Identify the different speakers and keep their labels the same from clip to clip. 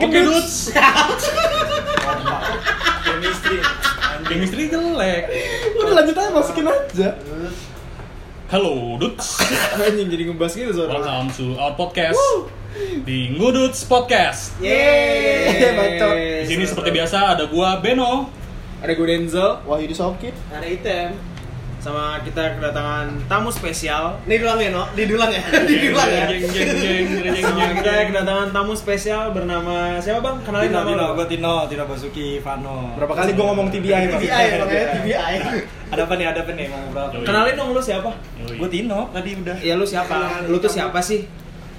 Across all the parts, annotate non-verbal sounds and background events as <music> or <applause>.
Speaker 1: Oke,
Speaker 2: gendut.
Speaker 1: dudes.
Speaker 2: <laughs>
Speaker 3: Chemistry. Anjing.
Speaker 1: Chemistry jelek.
Speaker 2: Udah lanjut aja masukin aja.
Speaker 3: Terus,
Speaker 1: Halo, Dudes.
Speaker 2: Anjing jadi ngebahas gitu soalnya.
Speaker 1: Welcome to our podcast di Nguduts Podcast.
Speaker 4: <laughs>
Speaker 2: Yeay, bacot.
Speaker 1: Di sini seperti biasa ada gua Beno.
Speaker 2: Ada gue Denzel.
Speaker 5: Wahyu Disokit
Speaker 3: ada item.
Speaker 5: sama kita kedatangan tamu spesial. Ini dulang ya, no? Di dulang ya? Di dulang ya?
Speaker 1: Jeng, jeng, jeng, jeng, jeng,
Speaker 5: Sama
Speaker 1: jeng,
Speaker 5: kita
Speaker 1: jeng.
Speaker 5: kedatangan tamu spesial bernama siapa bang? Kenalin nama lo.
Speaker 6: gue Tino, Tino Basuki, Vano.
Speaker 2: <laughs> Berapa kali gue ngomong TBI, Bang?
Speaker 5: TBI
Speaker 6: ya?
Speaker 5: makanya TBI.
Speaker 6: Ada apa nih? Ada apa nih? Mau ngobrol?
Speaker 1: Yoi.
Speaker 5: Kenalin dong lu siapa?
Speaker 1: Yoi.
Speaker 6: Gue Tino, tadi udah.
Speaker 5: Ya lu siapa? Lu tuh siapa sih?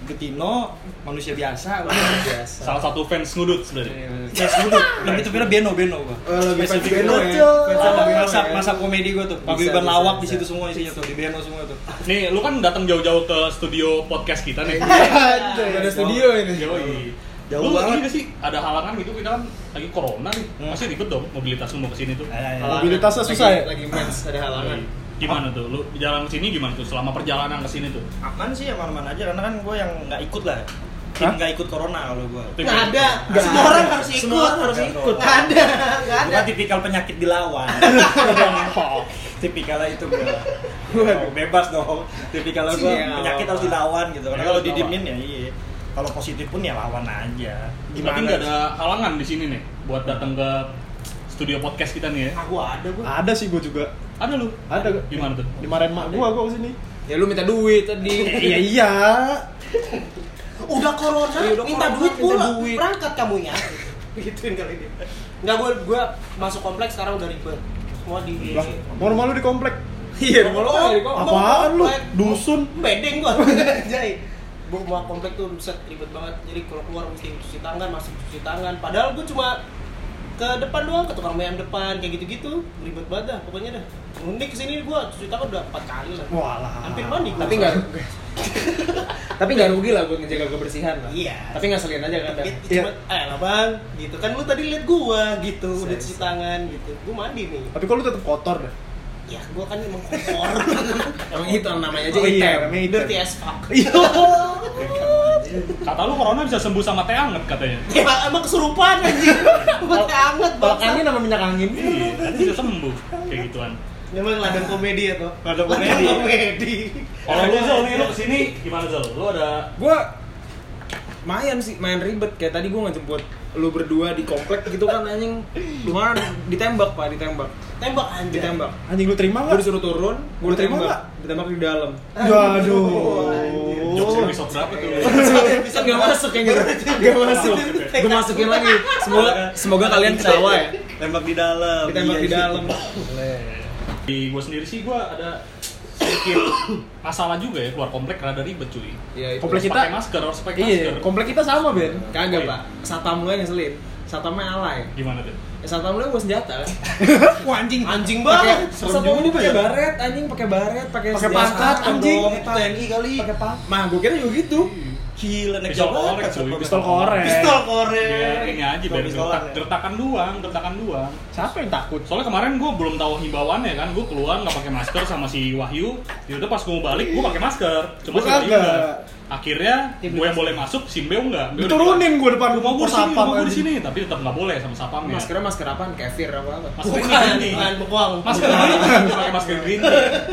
Speaker 6: Gue Tino, manusia biasa. gua.
Speaker 5: Biasa.
Speaker 1: Salah satu fans Nguduts berarti.
Speaker 6: Fans dulu, lebih tepatnya Beno, Beno gue.
Speaker 5: Oh, lebih fans Beno ya. Fans sama Beno
Speaker 6: Masa,
Speaker 5: ya.
Speaker 6: masa komedi gue tuh,
Speaker 5: Bisa,
Speaker 6: paguyuban
Speaker 5: bisa,
Speaker 6: lawak di
Speaker 5: bisa.
Speaker 6: situ semua isinya tuh, di Beno semua <laughs> tuh.
Speaker 1: Nih, lu kan datang jauh-jauh ke studio podcast kita nih.
Speaker 2: Anjay, ada studio ini.
Speaker 1: Yoi.
Speaker 6: Jauh
Speaker 1: lu
Speaker 6: banget.
Speaker 1: ini nggak sih ada halangan gitu kita kan lagi corona nih. Masih ribet dong mobilitas lu mau ke sini tuh.
Speaker 6: Eh,
Speaker 2: Mobilitasnya susah ya?
Speaker 5: Lagi mens, ada halangan.
Speaker 1: Yoi. Gimana tuh? Lu jalan ke sini gimana tuh selama perjalanan ke sini tuh?
Speaker 6: Aman sih, aman-aman aja, karena kan gue yang nggak ikut lah.
Speaker 2: Hah?
Speaker 6: Tim nggak ikut corona kalau gue.
Speaker 1: Tim-
Speaker 5: Nggak ada.
Speaker 6: Nggak
Speaker 5: Semua
Speaker 6: ada.
Speaker 5: orang harus ikut.
Speaker 6: Semua orang harus ikut.
Speaker 5: Nggak ada, nggak ada.
Speaker 6: Bukan tipikal penyakit dilawan. Tipikalnya itu gue. bebas dong. Tipikalnya gue
Speaker 5: Iya,
Speaker 6: penyakit
Speaker 5: apa-apa.
Speaker 6: harus dilawan gitu. Karena
Speaker 1: Iya,
Speaker 6: kalau
Speaker 1: apa-apa.
Speaker 6: didimin ya iya. Kalau positif pun ya lawan aja.
Speaker 1: Berarti nggak ada halangan di sini nih buat datang ke studio podcast kita nih ya?
Speaker 6: Aku ada <laughs> gue.
Speaker 2: Ada sih gue juga.
Speaker 1: Ada lu?
Speaker 2: Ada.
Speaker 1: Gimana tuh?
Speaker 2: Dimarahin mak gue, gue kesini.
Speaker 5: Ya lu minta duit
Speaker 4: <laughs>
Speaker 5: tadi.
Speaker 2: Iya iya.
Speaker 4: udah corona
Speaker 5: Iya, udah
Speaker 4: minta
Speaker 5: corona,
Speaker 4: duit
Speaker 5: minta
Speaker 4: pula
Speaker 5: duit.
Speaker 4: berangkat kamunya <laughs> gituin kali ini nggak gue gue masuk kompleks sekarang udah ribet semua di
Speaker 2: Lah, rumah lu di komplek.
Speaker 5: Iya, rumah lu. Iya.
Speaker 2: Apaan lu? Dusun.
Speaker 4: gitu. bedeng
Speaker 5: <laughs>
Speaker 4: gue jadi gue mau komplek tuh set ribet banget jadi kalau keluar mesti cuci tangan masuk cuci tangan padahal gue cuma ke depan doang ke tukang ayam depan kayak gitu-gitu ribet banget dah pokoknya dah unik kesini gue cuci tangan udah empat kali lah
Speaker 2: Walah.
Speaker 4: hampir mandi
Speaker 5: Tapi nggak
Speaker 4: <laughs>
Speaker 5: Tapi nggak rugi lah buat ngejaga kebersihan lah.
Speaker 4: Iya.
Speaker 5: Tapi ngeselin aja kan, kadang.
Speaker 2: Iya.
Speaker 4: Gitu, cuma, eh lah bang, gitu kan lu tadi liat gua gitu, udah
Speaker 5: Iya,
Speaker 4: cuci tangan gitu, gua mandi nih.
Speaker 2: Tapi kalau lu tetap kotor dah.
Speaker 4: Ya gua kan emang kotor,
Speaker 5: <laughs> Emang itu namanya aja
Speaker 2: Oh, iya,
Speaker 5: item. ya,
Speaker 2: namanya item.
Speaker 4: dirty as fuck.
Speaker 2: <laughs> Iya.
Speaker 1: Kata lu corona bisa sembuh sama teh anget katanya.
Speaker 4: Ya emang kesurupan anjing, buat anget
Speaker 2: Bakannya
Speaker 4: banget.
Speaker 2: nama minyak angin.
Speaker 1: Iya, nanti bisa sembuh kayak gituan.
Speaker 4: Emang ladang komedi ya toh?
Speaker 6: Ladang
Speaker 4: Ladang
Speaker 6: komedi.
Speaker 4: komedi.
Speaker 1: Kalau lu Zul nih, lu kesini gimana Zul? Lu ada
Speaker 5: Gue main sih, main ribet kayak tadi gue ngejemput lu berdua di komplek gitu kan anjing lumayan ditembak pak ditembak
Speaker 4: Tembak anjing.
Speaker 5: ditembak
Speaker 2: Anjing lu terima
Speaker 5: gue
Speaker 2: enggak?
Speaker 5: disuruh turun gue
Speaker 2: Lu terima
Speaker 5: ditembak
Speaker 2: nggak?
Speaker 5: ditembak di <laughs> dalam
Speaker 2: Aduh.
Speaker 1: jokes episode berapa tuh?
Speaker 5: bisa nggak masuk yang gitu nggak masuk gue masukin lagi semoga semoga kalian ketawa ya
Speaker 6: Tembak di dalam.
Speaker 5: ditembak
Speaker 6: Iya,
Speaker 5: di
Speaker 6: iya.
Speaker 5: dalam
Speaker 1: Di gua sendiri sih gua ada sedikit <coughs> masalah juga ya keluar komplek rada ribet cuy.
Speaker 5: Iya, itu.
Speaker 2: Komplek
Speaker 1: Harus
Speaker 2: kita-
Speaker 1: pakai masker, harus pakai masker.
Speaker 2: Iya, komplek kita sama, Ben.
Speaker 5: kagak pak satpam lu yang ngeselin satpamnya alay
Speaker 1: Gimana tuh?
Speaker 5: Eh, satpam lu yang bawa senjata kan
Speaker 6: Wah anjing.
Speaker 4: Anjing
Speaker 5: pakai
Speaker 4: banget.
Speaker 6: serem
Speaker 5: satpam
Speaker 6: juga
Speaker 5: ini pakai
Speaker 6: ya.
Speaker 5: baret anjing pakai baret pakai
Speaker 2: Pakai
Speaker 5: senjata.
Speaker 2: pangkat, anjing.
Speaker 6: Dong, TNI kali. Pakai pak.
Speaker 5: mah gue kira juga gitu
Speaker 6: Gila naik
Speaker 1: Pistol
Speaker 6: Jakarta,
Speaker 1: korek, cuy.
Speaker 6: Pak.
Speaker 2: kan, Pistol korek.
Speaker 4: Pistol
Speaker 1: Biar
Speaker 4: korek.
Speaker 1: ini aja biar
Speaker 6: Pistolan,
Speaker 1: gertak,
Speaker 6: ya.
Speaker 1: gertakan doang, gertakan doang.
Speaker 2: Siapa yang takut?
Speaker 1: Soalnya kemarin gue belum tahu himbauannya kan, gue keluar nggak pakai masker sama si Wahyu. Yaudah pas gue mau balik gue pakai masker, cuma si
Speaker 2: Gua
Speaker 1: Wahyu
Speaker 2: kagak.
Speaker 1: nggak. Akhirnya gue yang boleh masuk, si Mbeo nggak. Mbeo udah bilang,
Speaker 2: Diturunin gue depan
Speaker 1: Rumah gue di sini,
Speaker 2: satpam
Speaker 1: rumah gue di
Speaker 2: anjing.
Speaker 1: sini, tapi tetap nggak boleh sama sapamnya.
Speaker 5: maskernya masker apaan kefir apa apa
Speaker 1: masker
Speaker 4: Bukan,
Speaker 1: ini,
Speaker 4: bukan bekuang.
Speaker 1: masker ini, pakai masker green. tea.
Speaker 2: Iya.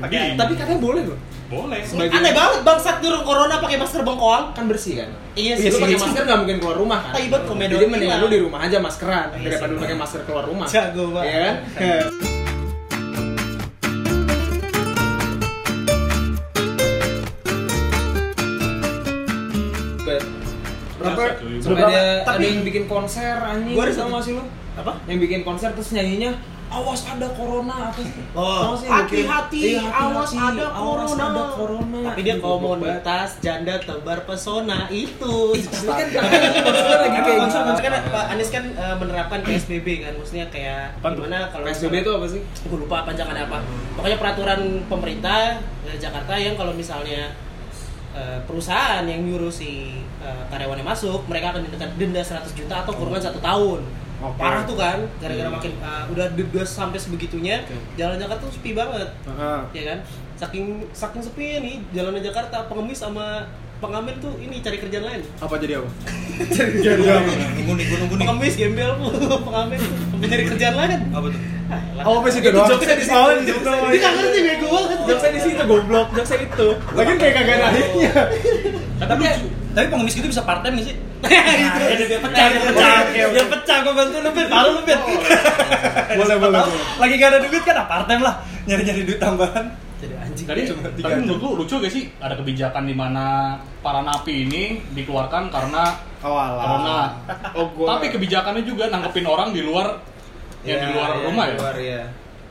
Speaker 1: Bingung.
Speaker 5: tapi katanya boleh loh
Speaker 1: boleh.
Speaker 5: sebagai
Speaker 4: Aneh banget bangsat nyuruh corona pakai masker bengkoang.
Speaker 5: kan bersih kan
Speaker 4: Iya
Speaker 5: Iya
Speaker 4: sih.
Speaker 5: sih,
Speaker 4: Lu
Speaker 5: pakai
Speaker 4: pakai
Speaker 5: masker nggak mungkin keluar rumah kan.
Speaker 6: Iya,
Speaker 4: Tai banget komedi
Speaker 5: Jadi mendingan
Speaker 4: orang
Speaker 5: lu di
Speaker 4: gila.
Speaker 5: rumah aja maskeran
Speaker 4: Iya
Speaker 5: daripada
Speaker 4: sih.
Speaker 5: lu pakai masker keluar rumah.
Speaker 6: Jago banget.
Speaker 5: Iya kan? Bet.
Speaker 1: Berapa?
Speaker 5: Sampai
Speaker 6: Berapa?
Speaker 5: ada, ada
Speaker 6: Tapi-
Speaker 5: yang bikin konser anjing.
Speaker 6: Gua ada
Speaker 5: tau
Speaker 6: satu.
Speaker 5: nggak sih lu?
Speaker 6: Apa?
Speaker 5: Yang bikin konser terus nyanyinya awas ada corona apa sih?
Speaker 6: Oh,
Speaker 5: Tau sih,
Speaker 4: Hati-hati,
Speaker 5: gokil. Iya,
Speaker 4: awas
Speaker 5: hati-hati,
Speaker 4: ada
Speaker 5: awas
Speaker 4: corona.
Speaker 5: ada corona.
Speaker 4: Tapi dia
Speaker 5: Aduh, goblok banget.
Speaker 4: komunitas janda tebar pesona itu.
Speaker 5: Ini kan konser lagi kayak
Speaker 4: Konser,
Speaker 5: gitu.
Speaker 4: konser. Kan Pak Anies kan eh, menerapkan PSBB kan, maksudnya kayak gimana kalau
Speaker 5: PSBB itu apa sih?
Speaker 4: gue lupa panjangan apa. Pokoknya peraturan pemerintah eh, Jakarta yang kalau misalnya eh, perusahaan yang nyuruh si eh, karyawannya masuk, mereka akan denda, denda 100 juta atau kurungan satu tahun.
Speaker 2: Oke.
Speaker 4: Parah tuh kan, gara-gara
Speaker 1: Hmm.
Speaker 4: makin eh, udah denda sampai sebegitunya, jalan Jakarta tuh sepi banget,
Speaker 2: Heeh.
Speaker 4: ya kan? Saking saking sepi nih jalanan Jakarta, pengemis sama pengamen tuh ini cari kerjaan lain
Speaker 2: Apa jadi
Speaker 4: <laughs>
Speaker 2: apa?
Speaker 6: Jadi nunggu nih, gua nunggu nih.
Speaker 4: pengemis gembel <laughs> pengamen tuh sampai cari kerjaan lain
Speaker 6: Apa tuh?
Speaker 2: Oh, sampai situ doang.
Speaker 4: jokesnya di situ
Speaker 2: Oh, di situ
Speaker 4: jokesnya
Speaker 2: doang.
Speaker 4: dia nggak ngerti bego banget
Speaker 5: Jokesnya di situ goblok, jokesnya itu.
Speaker 2: Lagian kayak kagak ada akhirnya.
Speaker 4: <laughs>
Speaker 6: Tapi tapi pengemis gitu bisa part time gak sih?
Speaker 4: itu Nah, iya, dia pecah dia pecah dia pecah gue bantu lu ben baru lu ben
Speaker 2: Boleh, boleh, boleh.
Speaker 6: Lagi gak ada duit
Speaker 4: ah,
Speaker 6: kan part time lah. Nyari-nyari duit tambahan.
Speaker 4: jadi anjing
Speaker 1: Tadi, tapi menurut lu lucu gak sih ada kebijakan di mana para napi ini dikeluarkan karena
Speaker 2: Oh, alah.
Speaker 1: corona.
Speaker 5: Oh, gua-
Speaker 1: Tapi kebijakannya juga nangkepin orang di luar yang di luar rumah
Speaker 5: di
Speaker 1: ya.
Speaker 5: luar, iya.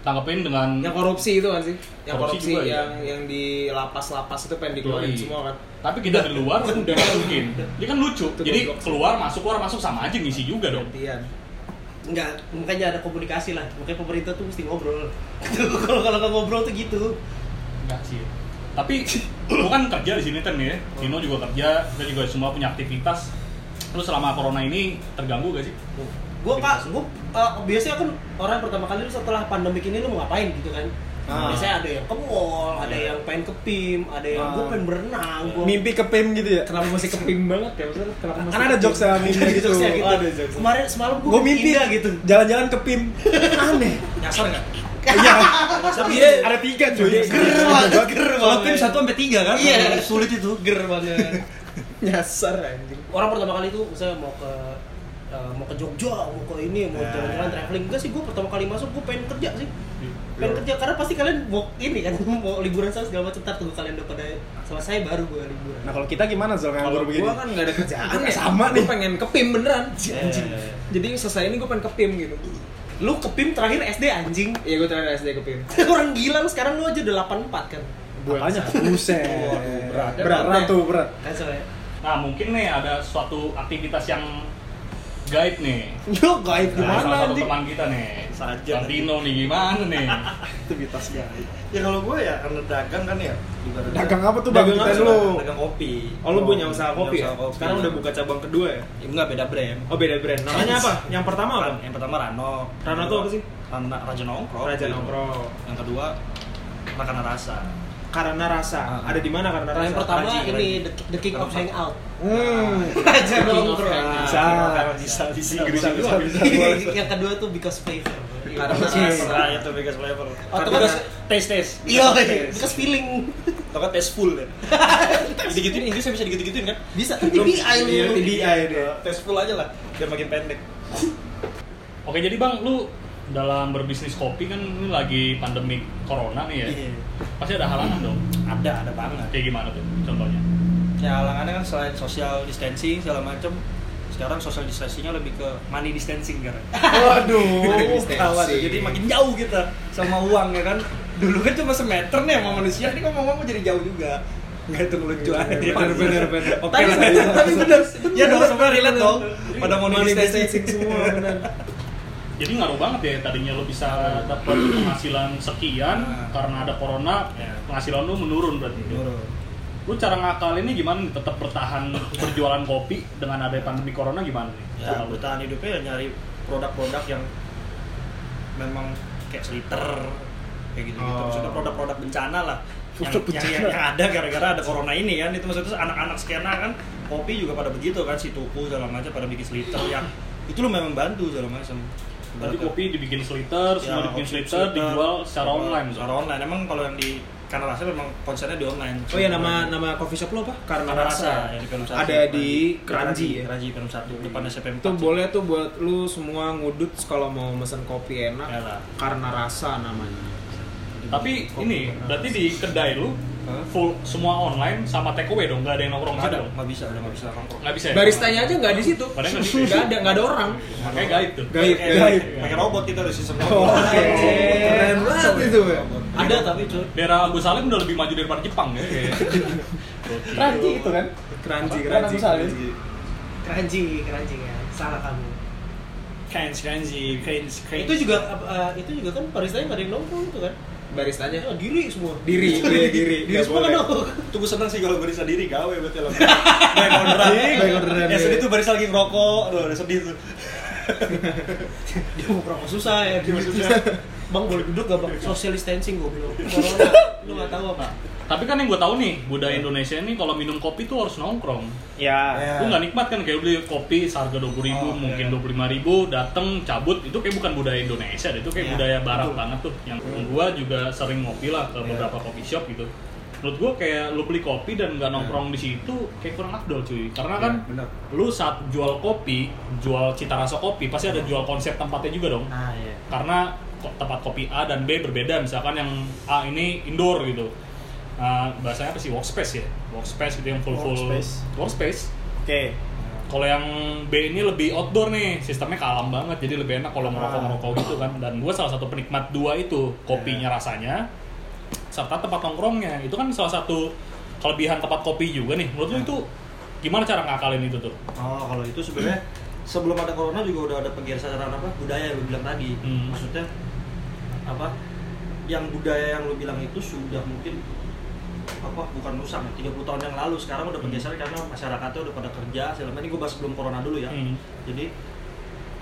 Speaker 1: Tangkepin dengan
Speaker 5: Yang korupsi itu kan sih? Yang
Speaker 1: Korupsi
Speaker 5: korupsi,
Speaker 1: juga, iya.
Speaker 5: yang yang di lapas-lapas itu pengen dikeluarin
Speaker 1: Yoi.
Speaker 5: semua kan.
Speaker 1: tapi kita di luar kan udah mungkin. Dia kan lucu.
Speaker 5: Itu
Speaker 1: Jadi
Speaker 5: goblok sih.
Speaker 1: keluar masuk keluar masuk sama aja ngisi juga Iya dong.
Speaker 5: Gantian.
Speaker 4: Enggak, makanya ada komunikasi lah. Makanya pemerintah tuh mesti ngobrol. <laughs> Kalau kalau nggak ngobrol tuh gitu.
Speaker 1: Enggak sih. Tapi lu kan kerja di sini Ten ya. Dino juga kerja, kita juga semua punya aktivitas. Terus selama corona ini terganggu gak sih?
Speaker 4: Gue kak, gue biasanya kan orang pertama kali lu setelah pandemik ini lu mau ngapain gitu kan?
Speaker 2: Ah.
Speaker 4: Biasanya ada yang ke mall, ada
Speaker 5: Iya.
Speaker 6: Iya.
Speaker 4: yang pengen ke PIM, ada yang
Speaker 2: Ah.
Speaker 4: gue pengen berenang. Gua...
Speaker 2: Mimpi ke PIM gitu ya?
Speaker 5: Kenapa masih kepim banget ya? Maksudnya kenapa masih
Speaker 2: Kan ada jokes sama mimpi
Speaker 4: Ada
Speaker 2: gitu.
Speaker 4: jokesnya gitu.
Speaker 2: Oh, ada jokes.
Speaker 4: Kemarin semalam gue,
Speaker 2: Gue mimpi
Speaker 4: gitu.
Speaker 2: Jalan-jalan ke PIM. Aneh.
Speaker 6: Nyasar gak?
Speaker 2: Iya. Tapi dia- ada tiga cuy.
Speaker 6: iya.
Speaker 4: Ger banget, ger
Speaker 6: Kalau tim
Speaker 4: banget.
Speaker 6: satu sampai tiga kan?
Speaker 4: Iya.
Speaker 6: Sulit itu.
Speaker 4: Ger banget.
Speaker 5: <laughs> nyasar anjing.
Speaker 4: orang pertama kali itu saya mau ke eh, mau ke Jogja, mau ke
Speaker 6: Iya.
Speaker 4: ini, mau
Speaker 2: Ya.
Speaker 4: jalan-jalan traveling enggak sih gue pertama kali masuk gue pengen kerja sih pengen kerja karena pasti kalian mau ini kan <laughs> mau liburan sana segala macam ntar tunggu kalian udah pada selesai baru gue liburan
Speaker 2: Nah, kalau kita gimana Zul nganggur
Speaker 5: Kalau
Speaker 2: begini?
Speaker 5: gua kan nggak ada kerjaan ya.
Speaker 2: Sama nih.
Speaker 5: Gua pengen kepim beneran.
Speaker 4: anjing
Speaker 5: Jadi selesai ini gua pengen kepim gitu.
Speaker 4: lu ke PIM terakhir SD anjing
Speaker 5: Iya gua terakhir SD <laughs> kepim.
Speaker 4: orang gila lu sekarang lu aja udah 84 kan
Speaker 2: Apanya? Buset.
Speaker 5: Waduh, berat.
Speaker 2: Berat, berat tuh, berat.
Speaker 4: kan soalnya
Speaker 1: Nah mungkin nih ada suatu aktivitas yang guide nih.
Speaker 2: Lu gaib
Speaker 1: Nah, salah
Speaker 2: gimana
Speaker 1: satu
Speaker 2: anjing?
Speaker 1: teman kita nih.
Speaker 6: Saja.
Speaker 1: Bang Dino nih gimana
Speaker 6: <laughs>
Speaker 1: nih?
Speaker 2: Aktivitas gaib.
Speaker 6: Ya kalau gue ya karena dagang kan ya. ibaratnya-
Speaker 2: Dagang apa tuh Bang?
Speaker 5: Dagang
Speaker 2: Kita
Speaker 5: apa
Speaker 2: dulu.
Speaker 6: Dagang kopi.
Speaker 5: Oh lu punya usaha kopi
Speaker 6: Punya
Speaker 5: ya?
Speaker 6: usaha kopi.
Speaker 5: Sekarang udah buka cabang kedua ya?
Speaker 6: Ya, enggak beda brand.
Speaker 5: Oh beda brand. Namanya apa? Yang pertama apa?
Speaker 6: Yang pertama Rano.
Speaker 5: Rano tuh apa sih?
Speaker 6: Rano, Raja Nongkrong.
Speaker 5: Raja Nongkrong.
Speaker 6: Yang kedua Makanan Rasa.
Speaker 5: Karena rasa.
Speaker 6: Ah.
Speaker 5: Ada di mana karena
Speaker 4: Nah,
Speaker 5: rasa?
Speaker 4: yang pertama
Speaker 6: Raji,
Speaker 4: ini
Speaker 6: Raji.
Speaker 4: The, the King of Hangout
Speaker 5: <laughs>
Speaker 2: Hmm.
Speaker 4: aja
Speaker 1: King of
Speaker 4: nongkrong
Speaker 2: Bisa.
Speaker 6: Bisa bisa
Speaker 2: Bisa, bisa, bisa.
Speaker 4: yang kedua tuh because flavor
Speaker 5: Karena
Speaker 6: Rasa Iya, itu biggest flavor.
Speaker 4: Atau
Speaker 6: Atau
Speaker 4: kan-
Speaker 6: taste taste.
Speaker 4: iya because feeling
Speaker 6: Atau kan tasteful ya. Gitu-gituin Inggrisnya bisa digitu-gituin kan?
Speaker 4: bisa kan TBI
Speaker 2: Iya,
Speaker 4: lu
Speaker 2: TDI deh.
Speaker 6: Tasteful aja lah. Biar makin pendek.
Speaker 1: Oke jadi bang lu dalam berbisnis kopi kan ini lagi pandemi corona nih ya. Pasti ada halangan dong.
Speaker 6: Iya. Ada, ada banget.
Speaker 1: Kayak gimana tuh contohnya?
Speaker 6: Ya halangannya kan selain social distancing segala macem sekarang social distancingnya lebih ke money distancing <laughs> kan
Speaker 2: Waduh.
Speaker 6: Kawan, jadi makin <laughs> jauh kita sama uang ya kan dulu kan cuma semeter nih sama manusia ini ngomong-ngomong jadi jauh juga nggak itu lucu aja
Speaker 5: Bener bener bener.
Speaker 6: tapi Iya, bener tapi bener ya dong semua relate dong pada Iya. money distancing <laughs>
Speaker 5: semua bener.
Speaker 1: Jadi ngaruh banget ya tadinya lu bisa dapat
Speaker 6: <coughs>
Speaker 1: penghasilan sekian
Speaker 6: Nah.
Speaker 1: karena ada corona
Speaker 6: Ya.
Speaker 1: penghasilan lu menurun berarti. Lu cara ngakal ini gimana nih tetap bertahan berjualan kopi dengan ada pandemi corona gimana nih?
Speaker 6: ya
Speaker 5: Iya.
Speaker 1: Cara lu?
Speaker 6: bertahan hidupnya ya nyari produk-produk yang memang kayak sliter kayak gitu gitu
Speaker 2: Oh.
Speaker 6: maksudnya produk-produk bencana lah yang,
Speaker 2: Produk
Speaker 6: yang,
Speaker 2: bencana.
Speaker 6: yang- yang ada gara-gara ada corona ini kan itu maksudnya terus anak-anak skena kan kopi juga pada begitu kan si tuku segala macam pada bikin sliter yang itu lu memang bantu segala macam Ya,
Speaker 1: Berarti kopi dibikin sliter, semua dibikin sliter, dijual secara online.
Speaker 6: secara online emang kalau yang di karena rasa memang konsernya di online
Speaker 5: Oh ya nama nama coffee shop lo apa? Karena,
Speaker 6: karena
Speaker 5: rasa.
Speaker 6: rasa yang di film satu
Speaker 5: Ada di Keranji ya?
Speaker 6: Keranji film satu depan SPM
Speaker 5: Itu boleh tuh buat lu semua ngudut kalau mau mesen kopi enak
Speaker 6: Ya lah.
Speaker 5: karena rasa namanya.
Speaker 1: Tapi ini berarti di kedai lu full semua online sama take away dong, nggak ada yang nongkrong
Speaker 6: nggak
Speaker 1: ada.
Speaker 6: ada nggak bisa udah nggak bisa nongkrong
Speaker 1: Nggak bisa. Ya?
Speaker 5: Baristanya aja nggak di situ.
Speaker 1: Padahal nggak di situ.
Speaker 5: Nggak ada nggak ada orang.
Speaker 1: Makanya gaib tuh.
Speaker 5: Gaib.
Speaker 6: Eh,
Speaker 2: Gaib.
Speaker 6: Pakai robot kita udah sistem
Speaker 2: Oh,
Speaker 6: robot.
Speaker 2: Oke.
Speaker 5: Keren banget itu.
Speaker 4: ada tapi cuy
Speaker 1: Daerah Agus Salim udah lebih maju daripada Jepang ya.
Speaker 6: Iya.
Speaker 1: kayaknya.
Speaker 2: Ranji itu kan?
Speaker 5: Keranji
Speaker 2: Kan
Speaker 5: keranji.
Speaker 2: aku salah.
Speaker 4: keranji keranji ya salah kamu
Speaker 6: Cringe, cringe, cringe, cringe.
Speaker 4: itu juga eh, itu juga kan baristanya nggak ada yang nongkrong tuh kan
Speaker 5: Baristanya
Speaker 4: Ya, diri semua <laughs>
Speaker 5: diri, iya, diri,
Speaker 4: diri
Speaker 5: nggak
Speaker 4: semua kan
Speaker 5: boleh.
Speaker 4: nongkrong
Speaker 6: tuh gue seneng sih kalau barista diri gawe berarti lo. Baik orderan.
Speaker 5: Baik orderan,
Speaker 6: Ya
Speaker 5: iya.
Speaker 6: sedih tuh barista lagi ngerokok. Aduh, udah sedih tuh.
Speaker 4: dia mau nongkrong susah ya dia
Speaker 6: Maksudnya,
Speaker 4: Bang boleh duduk gak bang? Social distancing gue bilang. Corona, lu nggak tahu apa?
Speaker 1: Tapi kan yang gue tahu nih, budaya Indonesia ini kalau minum kopi tuh harus nongkrong.
Speaker 5: Ya.
Speaker 1: Lu nggak nikmat kan kayak beli kopi seharga dua puluh ribu,
Speaker 6: Oh,
Speaker 1: mungkin
Speaker 6: iya.
Speaker 1: dua puluh lima ribu, dateng cabut itu kayak bukan budaya Indonesia, deh. itu kayak
Speaker 4: Iya,
Speaker 1: budaya Barat
Speaker 4: betul. Iya.
Speaker 1: banget tuh. Yang gua juga sering ngopi lah ke beberapa kopi shop gitu. Menurut gua kayak lu beli kopi dan
Speaker 4: Iya.
Speaker 1: nggak nongkrong di situ kayak kurang afdol cuy. Karena kan
Speaker 5: bener.
Speaker 1: lu saat jual kopi, jual cita rasa kopi pasti ada jual konsep tempatnya juga dong
Speaker 4: Iya. Ah iya.
Speaker 1: karena ko- tempat kopi A dan B berbeda misalkan yang A ini indoor gitu Nah, bahasanya apa sih workspace ya workspace gitu yang full full
Speaker 2: Workspace.
Speaker 1: workspace
Speaker 5: Oke.
Speaker 1: kalau yang B ini lebih outdoor nih sistemnya kalem banget jadi lebih enak kalau ngerokok ngerokok gitu kan dan gue salah satu penikmat dua itu kopinya rasanya serta tempat nongkrongnya itu kan salah satu kelebihan tempat kopi juga nih menurut lu itu gimana cara ngakalin itu tuh
Speaker 6: Oh, kalau itu sebenarnya sebelum ada corona juga udah ada penggeseran apa budaya yang lu bilang tadi.
Speaker 1: Hmm.
Speaker 6: Maksudnya apa? Yang budaya yang lu bilang itu sudah mungkin apa bukan rusak ya, 30 tahun yang lalu
Speaker 1: Hmm.
Speaker 6: sekarang udah penggeseran karena masyarakatnya udah pada kerja segala macam. ini gue bahas sebelum corona dulu ya
Speaker 1: Hmm.
Speaker 6: jadi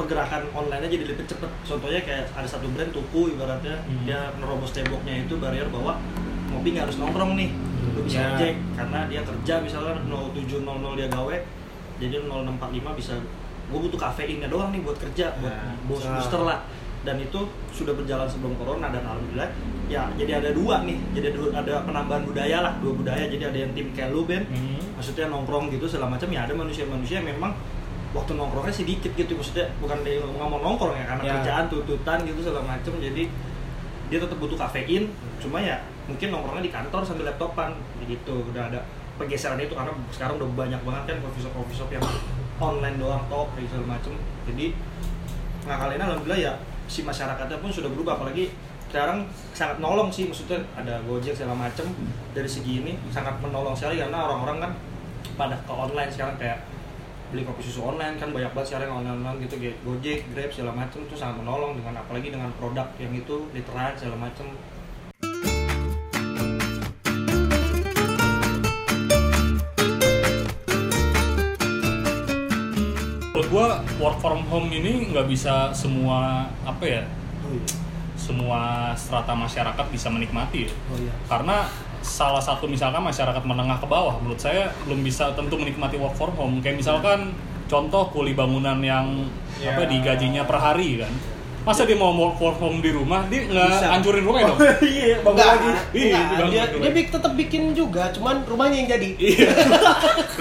Speaker 6: pergerakan online jadi lebih cepet contohnya kayak ada satu brand tuku ibaratnya
Speaker 1: Hmm.
Speaker 6: dia nerobos temboknya itu barrier bahwa ngopi nggak harus nongkrong nih
Speaker 1: Hmm,
Speaker 6: lu bisa
Speaker 1: iya.
Speaker 5: Ya.
Speaker 6: ojek karena dia kerja misalnya 0700 dia gawe jadi 0645 bisa gue butuh kafeinnya doang nih buat kerja
Speaker 1: Iya,
Speaker 6: buat
Speaker 5: Ya.
Speaker 6: bos
Speaker 5: Nah.
Speaker 6: booster lah dan itu sudah berjalan sebelum corona dan alhamdulillah ya jadi ada dua nih jadi ada, ada penambahan budaya lah dua budaya jadi ada yang tim kayak lu Ben
Speaker 1: Hmm.
Speaker 6: maksudnya nongkrong gitu segala macam ya ada manusia-manusia yang memang waktu nongkrongnya sedikit gitu maksudnya bukan dari nggak mau nongkrong ya karena
Speaker 5: Ya.
Speaker 6: kerjaan tuntutan gitu segala macam jadi dia tetap butuh kafein cuma ya mungkin nongkrongnya di kantor sambil laptopan gitu udah ada pergeseran itu karena sekarang udah banyak banget kan coffee shop coffee shop yang online doang top gitu, segala macam jadi ngakalin alhamdulillah ya si masyarakatnya pun sudah berubah apalagi sekarang sangat nolong sih maksudnya ada gojek segala macem dari segi ini sangat menolong sekali karena orang-orang kan pada ke online sekarang kayak beli kopi susu online kan banyak banget sekarang online online gitu kayak gojek grab segala macem itu sangat menolong dengan apalagi dengan produk yang itu literan segala macem
Speaker 1: Menurut gua work from home ini nggak bisa semua apa ya
Speaker 6: Oh, iya.
Speaker 1: semua strata masyarakat bisa menikmati ya.
Speaker 6: oh iya
Speaker 1: Karena salah satu misalkan masyarakat menengah ke bawah menurut saya belum bisa tentu menikmati work from home. Kayak misalkan contoh kuli bangunan yang
Speaker 5: Ya.
Speaker 1: apa digajinya per hari kan. Masa dia mau work from home di rumah, dia nggak
Speaker 6: Bisa.
Speaker 1: hancurin rumah
Speaker 6: <laughs>
Speaker 1: dong.
Speaker 2: Iya, bangun lagi.
Speaker 1: Iya,
Speaker 4: Enggak, dia,
Speaker 1: dibangun.
Speaker 4: dia bik- tetap bikin juga, cuman rumahnya yang jadi.
Speaker 1: Iya.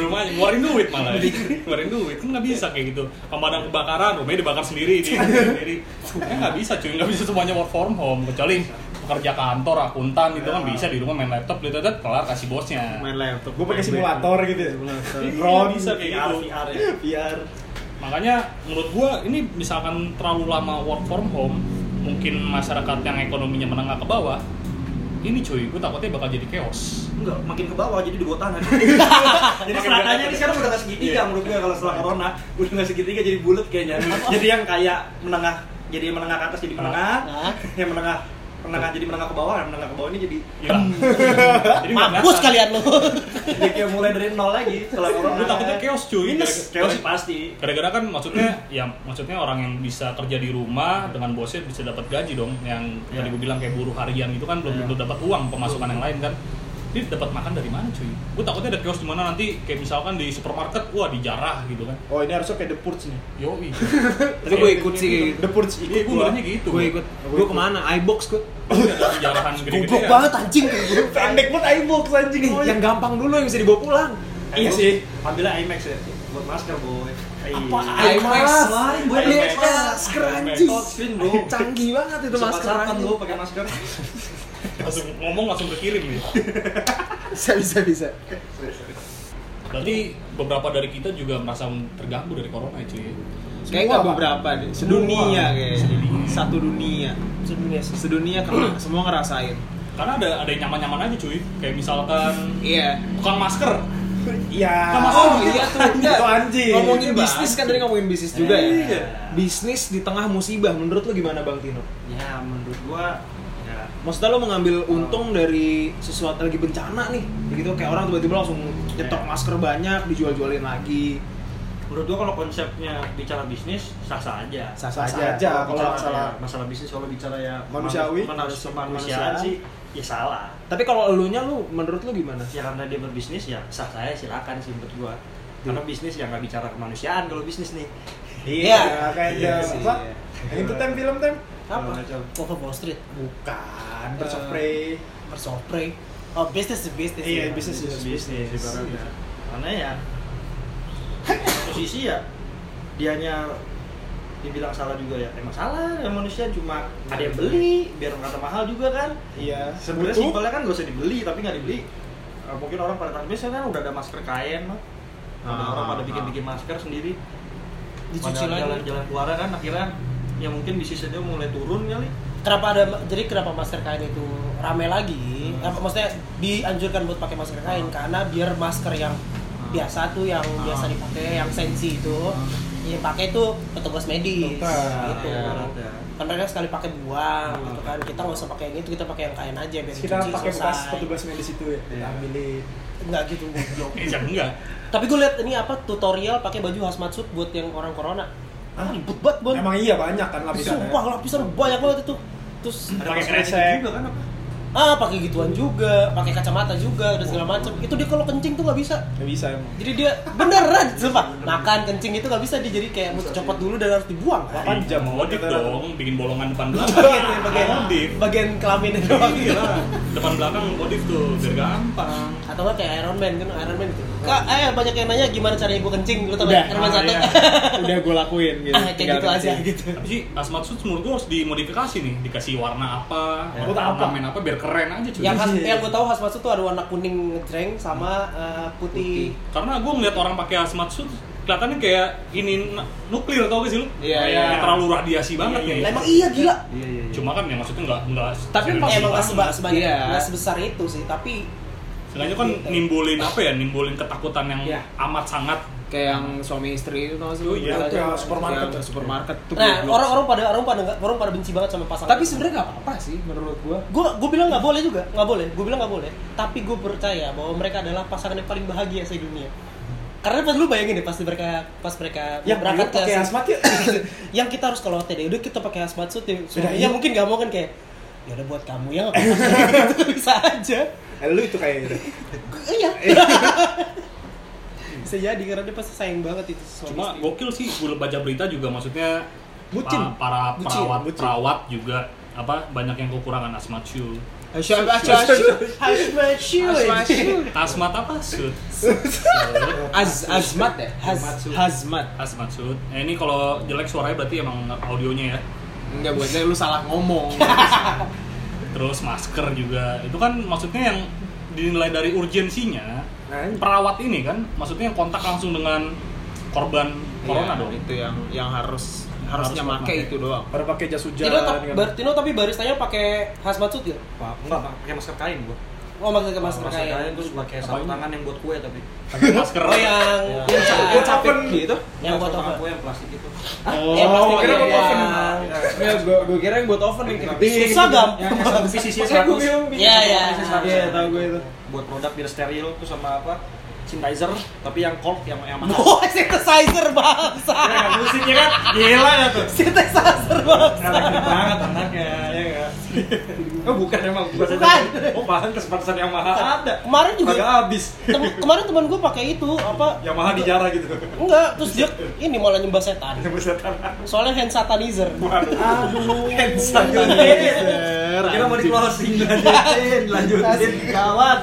Speaker 1: rumahnya ngeluarin duit malah ya. ngeluarin duit kan nggak bisa kayak gitu pemadam kebakaran rumahnya dibakar sendiri dia sendiri kan nggak bisa cuy nggak bisa semuanya work from home kecuali pekerja kantor akuntan gitu kan bisa di rumah main laptop lihat lihat kelar kasih bosnya
Speaker 5: Main laptop.
Speaker 2: Gue pakai simulator gitu ya.
Speaker 5: Simulator.
Speaker 1: Iya,
Speaker 2: Ron.
Speaker 1: bisa kayak
Speaker 6: VR
Speaker 1: gitu
Speaker 6: VR ya
Speaker 2: VR.
Speaker 1: makanya menurut gua ini misalkan terlalu lama work from home mungkin masyarakat yang ekonominya menengah ke bawah ini cuy gua takutnya bakal jadi chaos
Speaker 6: enggak makin ke bawah jadi di bawah <laughs> tanah jadi
Speaker 1: Makin
Speaker 6: seratanya
Speaker 1: berat.
Speaker 6: ini sekarang udah nggak segitiga
Speaker 1: Iya.
Speaker 6: menurut gue kalau setelah corona udah nggak segitiga jadi bulat kayaknya jadi yang kayak menengah jadi yang menengah ke atas jadi menengah
Speaker 4: Nah.
Speaker 6: yang menengah menengah jadi menengah ke bawah yang menengah ke bawah ini jadi
Speaker 1: Iya.
Speaker 6: <laughs>
Speaker 1: jadi nggak
Speaker 4: Mampus
Speaker 1: berasa.
Speaker 4: kalian lu.
Speaker 6: jadi ya kayak mulai dari nol lagi setelah corona
Speaker 1: Lu takutnya chaos, cuy.
Speaker 6: minus
Speaker 1: Chaos
Speaker 6: ya. Iya, chaos sih pasti
Speaker 1: gara-gara kan maksudnya ya maksudnya orang yang bisa kerja di rumah dengan bosnya bisa dapat gaji dong yang tadi gue bilang kayak buruh harian itu kan belum tentu dapat uang pemasukan yang lain kan dia dapat makan dari mana cuy gue takutnya ada kios di mana nanti kayak misalkan di supermarket wah dijarah gitu kan
Speaker 2: Oh, ini harusnya kayak The Purge nih.
Speaker 1: yoi
Speaker 5: Tapi gue ikut sih kayak gitu.
Speaker 2: The Purge
Speaker 1: <laughs> iya
Speaker 2: ikut
Speaker 1: gue
Speaker 2: gua.
Speaker 1: bilangnya gitu
Speaker 5: Gue ikut. Gue kemana? iBox gue.
Speaker 1: jarahan gede-gede ya.
Speaker 4: Goblok banget anjing.
Speaker 2: Pendek pun iBox anjing.
Speaker 5: Yang gampang dulu yang bisa dibawa pulang.
Speaker 2: Iya sih.
Speaker 6: ambilnya IMAX ya buat masker boy
Speaker 5: Apa?
Speaker 6: Iya.
Speaker 5: IMAX.
Speaker 6: Lain, boy.
Speaker 5: Beli
Speaker 6: IMAX.
Speaker 5: masker
Speaker 6: Iya.
Speaker 5: anjing.
Speaker 6: Touch screen, bro
Speaker 5: Canggih banget itu masker
Speaker 6: Sempat-sempat,
Speaker 5: anjing.
Speaker 6: bro pakai masker
Speaker 1: langsung ngomong langsung kekirim ya. nih
Speaker 5: Bisa bisa bisa.
Speaker 1: berarti beberapa dari kita juga merasa terganggu dari corona ya, cuy
Speaker 5: Kayak nggak beberapa deh. Sedunia kayak. Satu dunia.
Speaker 4: Sedunia sih.
Speaker 5: Sedunia kena. Semua ngerasain.
Speaker 1: karena ada ada yang nyaman-nyaman aja cuy kayak misalkan
Speaker 5: Iya.
Speaker 1: tukang masker
Speaker 2: Iya.
Speaker 4: Nah,
Speaker 1: Sama
Speaker 5: Oh iya
Speaker 4: <laughs>
Speaker 5: tuh. Enggak.
Speaker 2: Itu Gitu, anjing. Iya.
Speaker 5: Ngomongin
Speaker 2: Itu
Speaker 5: bisnis kan tadi ngomongin bisnis juga ya.
Speaker 6: Iya.
Speaker 5: Bisnis di tengah musibah menurut lu gimana Bang Tino?
Speaker 6: ya menurut gua ya
Speaker 5: Maksudnya lo mengambil untung dari sesuatu lagi bencana nih, kayak gitu kayak orang tiba-tiba langsung nyetok
Speaker 6: Iya.
Speaker 5: masker banyak dijual-jualin lagi.
Speaker 6: menurut gua kalau konsepnya bicara bisnis sah sah aja
Speaker 5: Sah
Speaker 2: Sah
Speaker 5: aja.
Speaker 2: aja kalau
Speaker 6: Bicara
Speaker 2: masalah
Speaker 6: ya, masalah bisnis kalau bicara ya
Speaker 2: Manusiawi.
Speaker 6: manusia kemanusiaan
Speaker 2: Manusia.
Speaker 6: sih ya salah
Speaker 5: Tapi kalau elunya lu menurut lu gimana?
Speaker 6: ya karena dia berbisnis ya sah saya silakan sih menurut gua karena bisnis ya nggak bicara kemanusiaan kalau bisnis nih
Speaker 2: Iya, kayak
Speaker 5: Iya
Speaker 2: dia
Speaker 5: sih,
Speaker 2: apa?
Speaker 5: iya.
Speaker 2: Yang itu tem film tem?
Speaker 4: Apa?
Speaker 6: Macam.
Speaker 4: Wolf of Wall Street,
Speaker 2: Bukan, Birds of Prey.
Speaker 4: Birds of Prey. Eh. Oh, business is business. ya.
Speaker 2: Iya, bisnis is
Speaker 6: bisnis ibaratnya karena ya posisi ya dianya dibilang salah juga ya emang salah ya manusia cuma ada yang beli biar kata mahal juga kan
Speaker 2: Iya.
Speaker 6: sebenarnya
Speaker 2: Butuh.
Speaker 6: simpelnya kan gak usah dibeli tapi nggak dibeli Eh, mungkin orang pada tanpa biasanya kan udah ada masker kain mah ada
Speaker 5: Ah,
Speaker 6: Nah, orang pada
Speaker 5: ah.
Speaker 6: bikin-bikin masker sendiri pada
Speaker 4: Dicuci lagi.
Speaker 6: jalan-jalan keluar kan akhirnya ya mungkin bisnisnya mulai turun kali
Speaker 4: Kenapa ada jadi kenapa masker kain itu rame lagi?
Speaker 5: Hmm.
Speaker 4: Kenapa Nah, maksudnya dianjurkan buat pakai masker
Speaker 2: Ah.
Speaker 4: kain karena biar masker yang biasa tuh yang biasa dipakai yang sensi itu
Speaker 2: Ah.
Speaker 4: yang pakai itu petugas medis
Speaker 2: Dokter.
Speaker 4: gitu.
Speaker 6: Iya,
Speaker 4: Karena
Speaker 6: ada.
Speaker 4: Kan mereka sekali pakai buang gitu kan. Kita nggak usah pakai yang itu, kita pakai yang kain aja biar
Speaker 2: Kita
Speaker 4: dicuci
Speaker 2: Ah. pakai bekas
Speaker 4: selesai.
Speaker 2: petugas medis itu ya. Kita
Speaker 6: Iya.
Speaker 2: ambilin.
Speaker 4: Enggak gitu goblok.
Speaker 1: Eh, jangan enggak.
Speaker 4: Tapi gue liat ini apa tutorial pakai baju hazmat suit buat yang orang corona. Ah, ribet banget, Bon.
Speaker 2: Emang iya banyak kan lapisannya.
Speaker 4: Sumpah lapisan banyak banget itu. Terus
Speaker 6: ada
Speaker 2: Pakai
Speaker 6: masker kain
Speaker 2: kresek.
Speaker 6: juga kan apa
Speaker 4: ah pakai gituan juga, pakai kacamata juga dan segala macam. Itu dia kalau kencing tuh nggak bisa.
Speaker 2: Nggak bisa emang.
Speaker 4: Jadi dia beneran <laughs> sumpah makan kencing itu nggak bisa dia jadi kayak mesti copot dulu dan harus dibuang.
Speaker 2: Delapan Nah, jam.
Speaker 1: Modif
Speaker 2: Kata-
Speaker 1: dong, bikin bolongan depan belakang.
Speaker 4: Bagian bagian
Speaker 1: Modif.
Speaker 4: bagian kelamin doang.
Speaker 1: Iya, depan belakang modif tuh, biar gampang.
Speaker 4: Atau nggak kayak Iron Man kan Iron Man gitu. Kak, eh banyak yang nanya gimana caranya gue kencing lu tau
Speaker 5: Udah.
Speaker 4: nggak? Iron Man
Speaker 5: Ah,
Speaker 4: satu.
Speaker 5: iya. Udah gue lakuin gitu.
Speaker 4: Ah, kayak
Speaker 5: Tinggal
Speaker 4: gitu aja
Speaker 5: kasih.
Speaker 4: gitu.
Speaker 1: Tapi sih, asmat suit menurut gue harus dimodifikasi nih, dikasih warna apa,
Speaker 6: Ya.
Speaker 1: warna apa, main apa, biar keren aja cuy.
Speaker 4: yang khas yang gue tahu khas masuk tuh ada warna kuning ngejreng sama eh, putih.
Speaker 1: Karena gue ngeliat orang pakai hazmat suit kelihatannya kayak ini n- nuklir tau gak sih lu?
Speaker 5: Iya,
Speaker 1: Kayak
Speaker 5: iya.
Speaker 1: terlalu radiasi banget
Speaker 5: Iya,
Speaker 1: nih.
Speaker 4: Lah, emang iya gila.
Speaker 6: iya iya iya.
Speaker 1: Cuma kan ya maksudnya nggak nggak.
Speaker 4: Tapi
Speaker 1: serius
Speaker 4: emang nggak
Speaker 1: banget.
Speaker 4: seba- sebanyak
Speaker 5: Iya.
Speaker 4: nggak sebesar itu sih. Tapi
Speaker 1: Sengaja kan nimbulin apa ya? Nimbulin ketakutan yang
Speaker 5: Iya.
Speaker 1: amat sangat.
Speaker 5: Kayak yang suami istri itu tau gak sih?
Speaker 2: Oh iya,
Speaker 5: Yang
Speaker 2: yang supermarket.
Speaker 5: yang supermarket ya? tuh.
Speaker 4: nah
Speaker 5: goblok.
Speaker 4: orang-orang pada orang pada nggak- orang pada benci banget sama pasangan.
Speaker 5: tapi sebenarnya nggak apa-apa sih menurut gue.
Speaker 4: gue gue bilang nggak boleh juga nggak boleh gue bilang nggak boleh tapi gue percaya bahwa mereka adalah pasangan yang paling bahagia se dunia karena pas lu bayangin deh pas mereka pas mereka
Speaker 2: Ya,
Speaker 4: berangkat
Speaker 2: pakai
Speaker 4: ke
Speaker 2: hazmat yuk.
Speaker 4: <laughs> yang kita harus ke lote deh udah kita pakai hazmat suit deh
Speaker 2: Sudah,
Speaker 4: suaminya
Speaker 2: iya.
Speaker 4: mungkin nggak mau kan kayak ya udah buat kamu <laughs> ya nggak apa-apa." Gitu, bisa aja
Speaker 2: Eh, lu
Speaker 5: gitu.
Speaker 2: itu kayaknya.
Speaker 4: Gue- iya <laughs> bisa jadi karena dia pasti sayang banget itu suami
Speaker 1: Cuma
Speaker 4: istri.
Speaker 1: gokil sih, gue baca berita juga maksudnya
Speaker 2: Bucin.
Speaker 1: pa- para
Speaker 2: Bucin,
Speaker 1: perawat
Speaker 2: bucin.
Speaker 1: perawat juga apa banyak yang kekurangan asmat suit.
Speaker 5: Asyik,
Speaker 4: hazmat suit
Speaker 1: Asmat apa? Suit.
Speaker 5: Az, azmat ya?
Speaker 4: Haz-
Speaker 5: hazmat.
Speaker 1: Asmat suit. Eh, ini kalau jelek suaranya berarti emang audionya ya.
Speaker 5: Enggak buat saya lu salah <laughs> ngomong.
Speaker 1: Terus masker juga. Itu kan maksudnya yang dinilai dari urgensinya perawat ini kan maksudnya yang kontak langsung dengan korban corona
Speaker 5: Iya,
Speaker 1: dong.
Speaker 5: Itu yang yang harus harusnya
Speaker 1: Harus
Speaker 5: make
Speaker 1: pakai.
Speaker 5: itu doang.
Speaker 2: Pada pakai jas hujan.
Speaker 4: Tino, tapi-
Speaker 2: kan.
Speaker 4: Bar- Tino tapi baristanya pakai hazmat suit ya?
Speaker 6: Apa? enggak pakai masker kain gua
Speaker 4: Oh maksudnya masker
Speaker 6: masker kain
Speaker 4: kain.
Speaker 6: terus pakai sarung tangan yang buat kue tapi Iya.
Speaker 1: Pakai masker.
Speaker 4: Oh
Speaker 2: iya.
Speaker 4: yang yang
Speaker 5: Yang
Speaker 4: ca-
Speaker 5: capek gitu.
Speaker 4: yang buat
Speaker 6: Sarung tangan
Speaker 4: apa?
Speaker 6: kue yang plastik itu
Speaker 5: Oh,
Speaker 2: Iya,
Speaker 1: iya,
Speaker 4: yang plastik
Speaker 2: kira buat oven.
Speaker 5: Ya, gua, gua kira yang buat oven yang kayak
Speaker 4: Yang susah
Speaker 5: <laughs>
Speaker 4: gampang.
Speaker 6: yang satu pcs
Speaker 5: Makanya gua
Speaker 6: 100
Speaker 5: bingung.
Speaker 4: Iya iya.
Speaker 5: Iya, tahu gue itu.
Speaker 6: buat produk biar steril terus sama apa sanitizer tapi yang cold yang yang mahal
Speaker 4: Wah synthesizer bangsa.
Speaker 6: musiknya kan gila ya tuh
Speaker 4: Synthesizer bangsa.
Speaker 6: Elektrik banget anaknya ya nggak? oh bukan emang bukan
Speaker 4: Bukan.
Speaker 6: oh bahan kesempatan yang mahal ada
Speaker 4: Kemarin juga
Speaker 6: agak habis
Speaker 4: tem- kemarin teman gue pakai itu apa?
Speaker 6: yang mahal dijarah gitu
Speaker 4: Enggak, terus dia ini malah nyembah setan.
Speaker 6: Busetan.
Speaker 4: Soalnya hand satanizer.
Speaker 6: Aduh, handsan Kira mau di closing lanjutin, lanjutin kawan.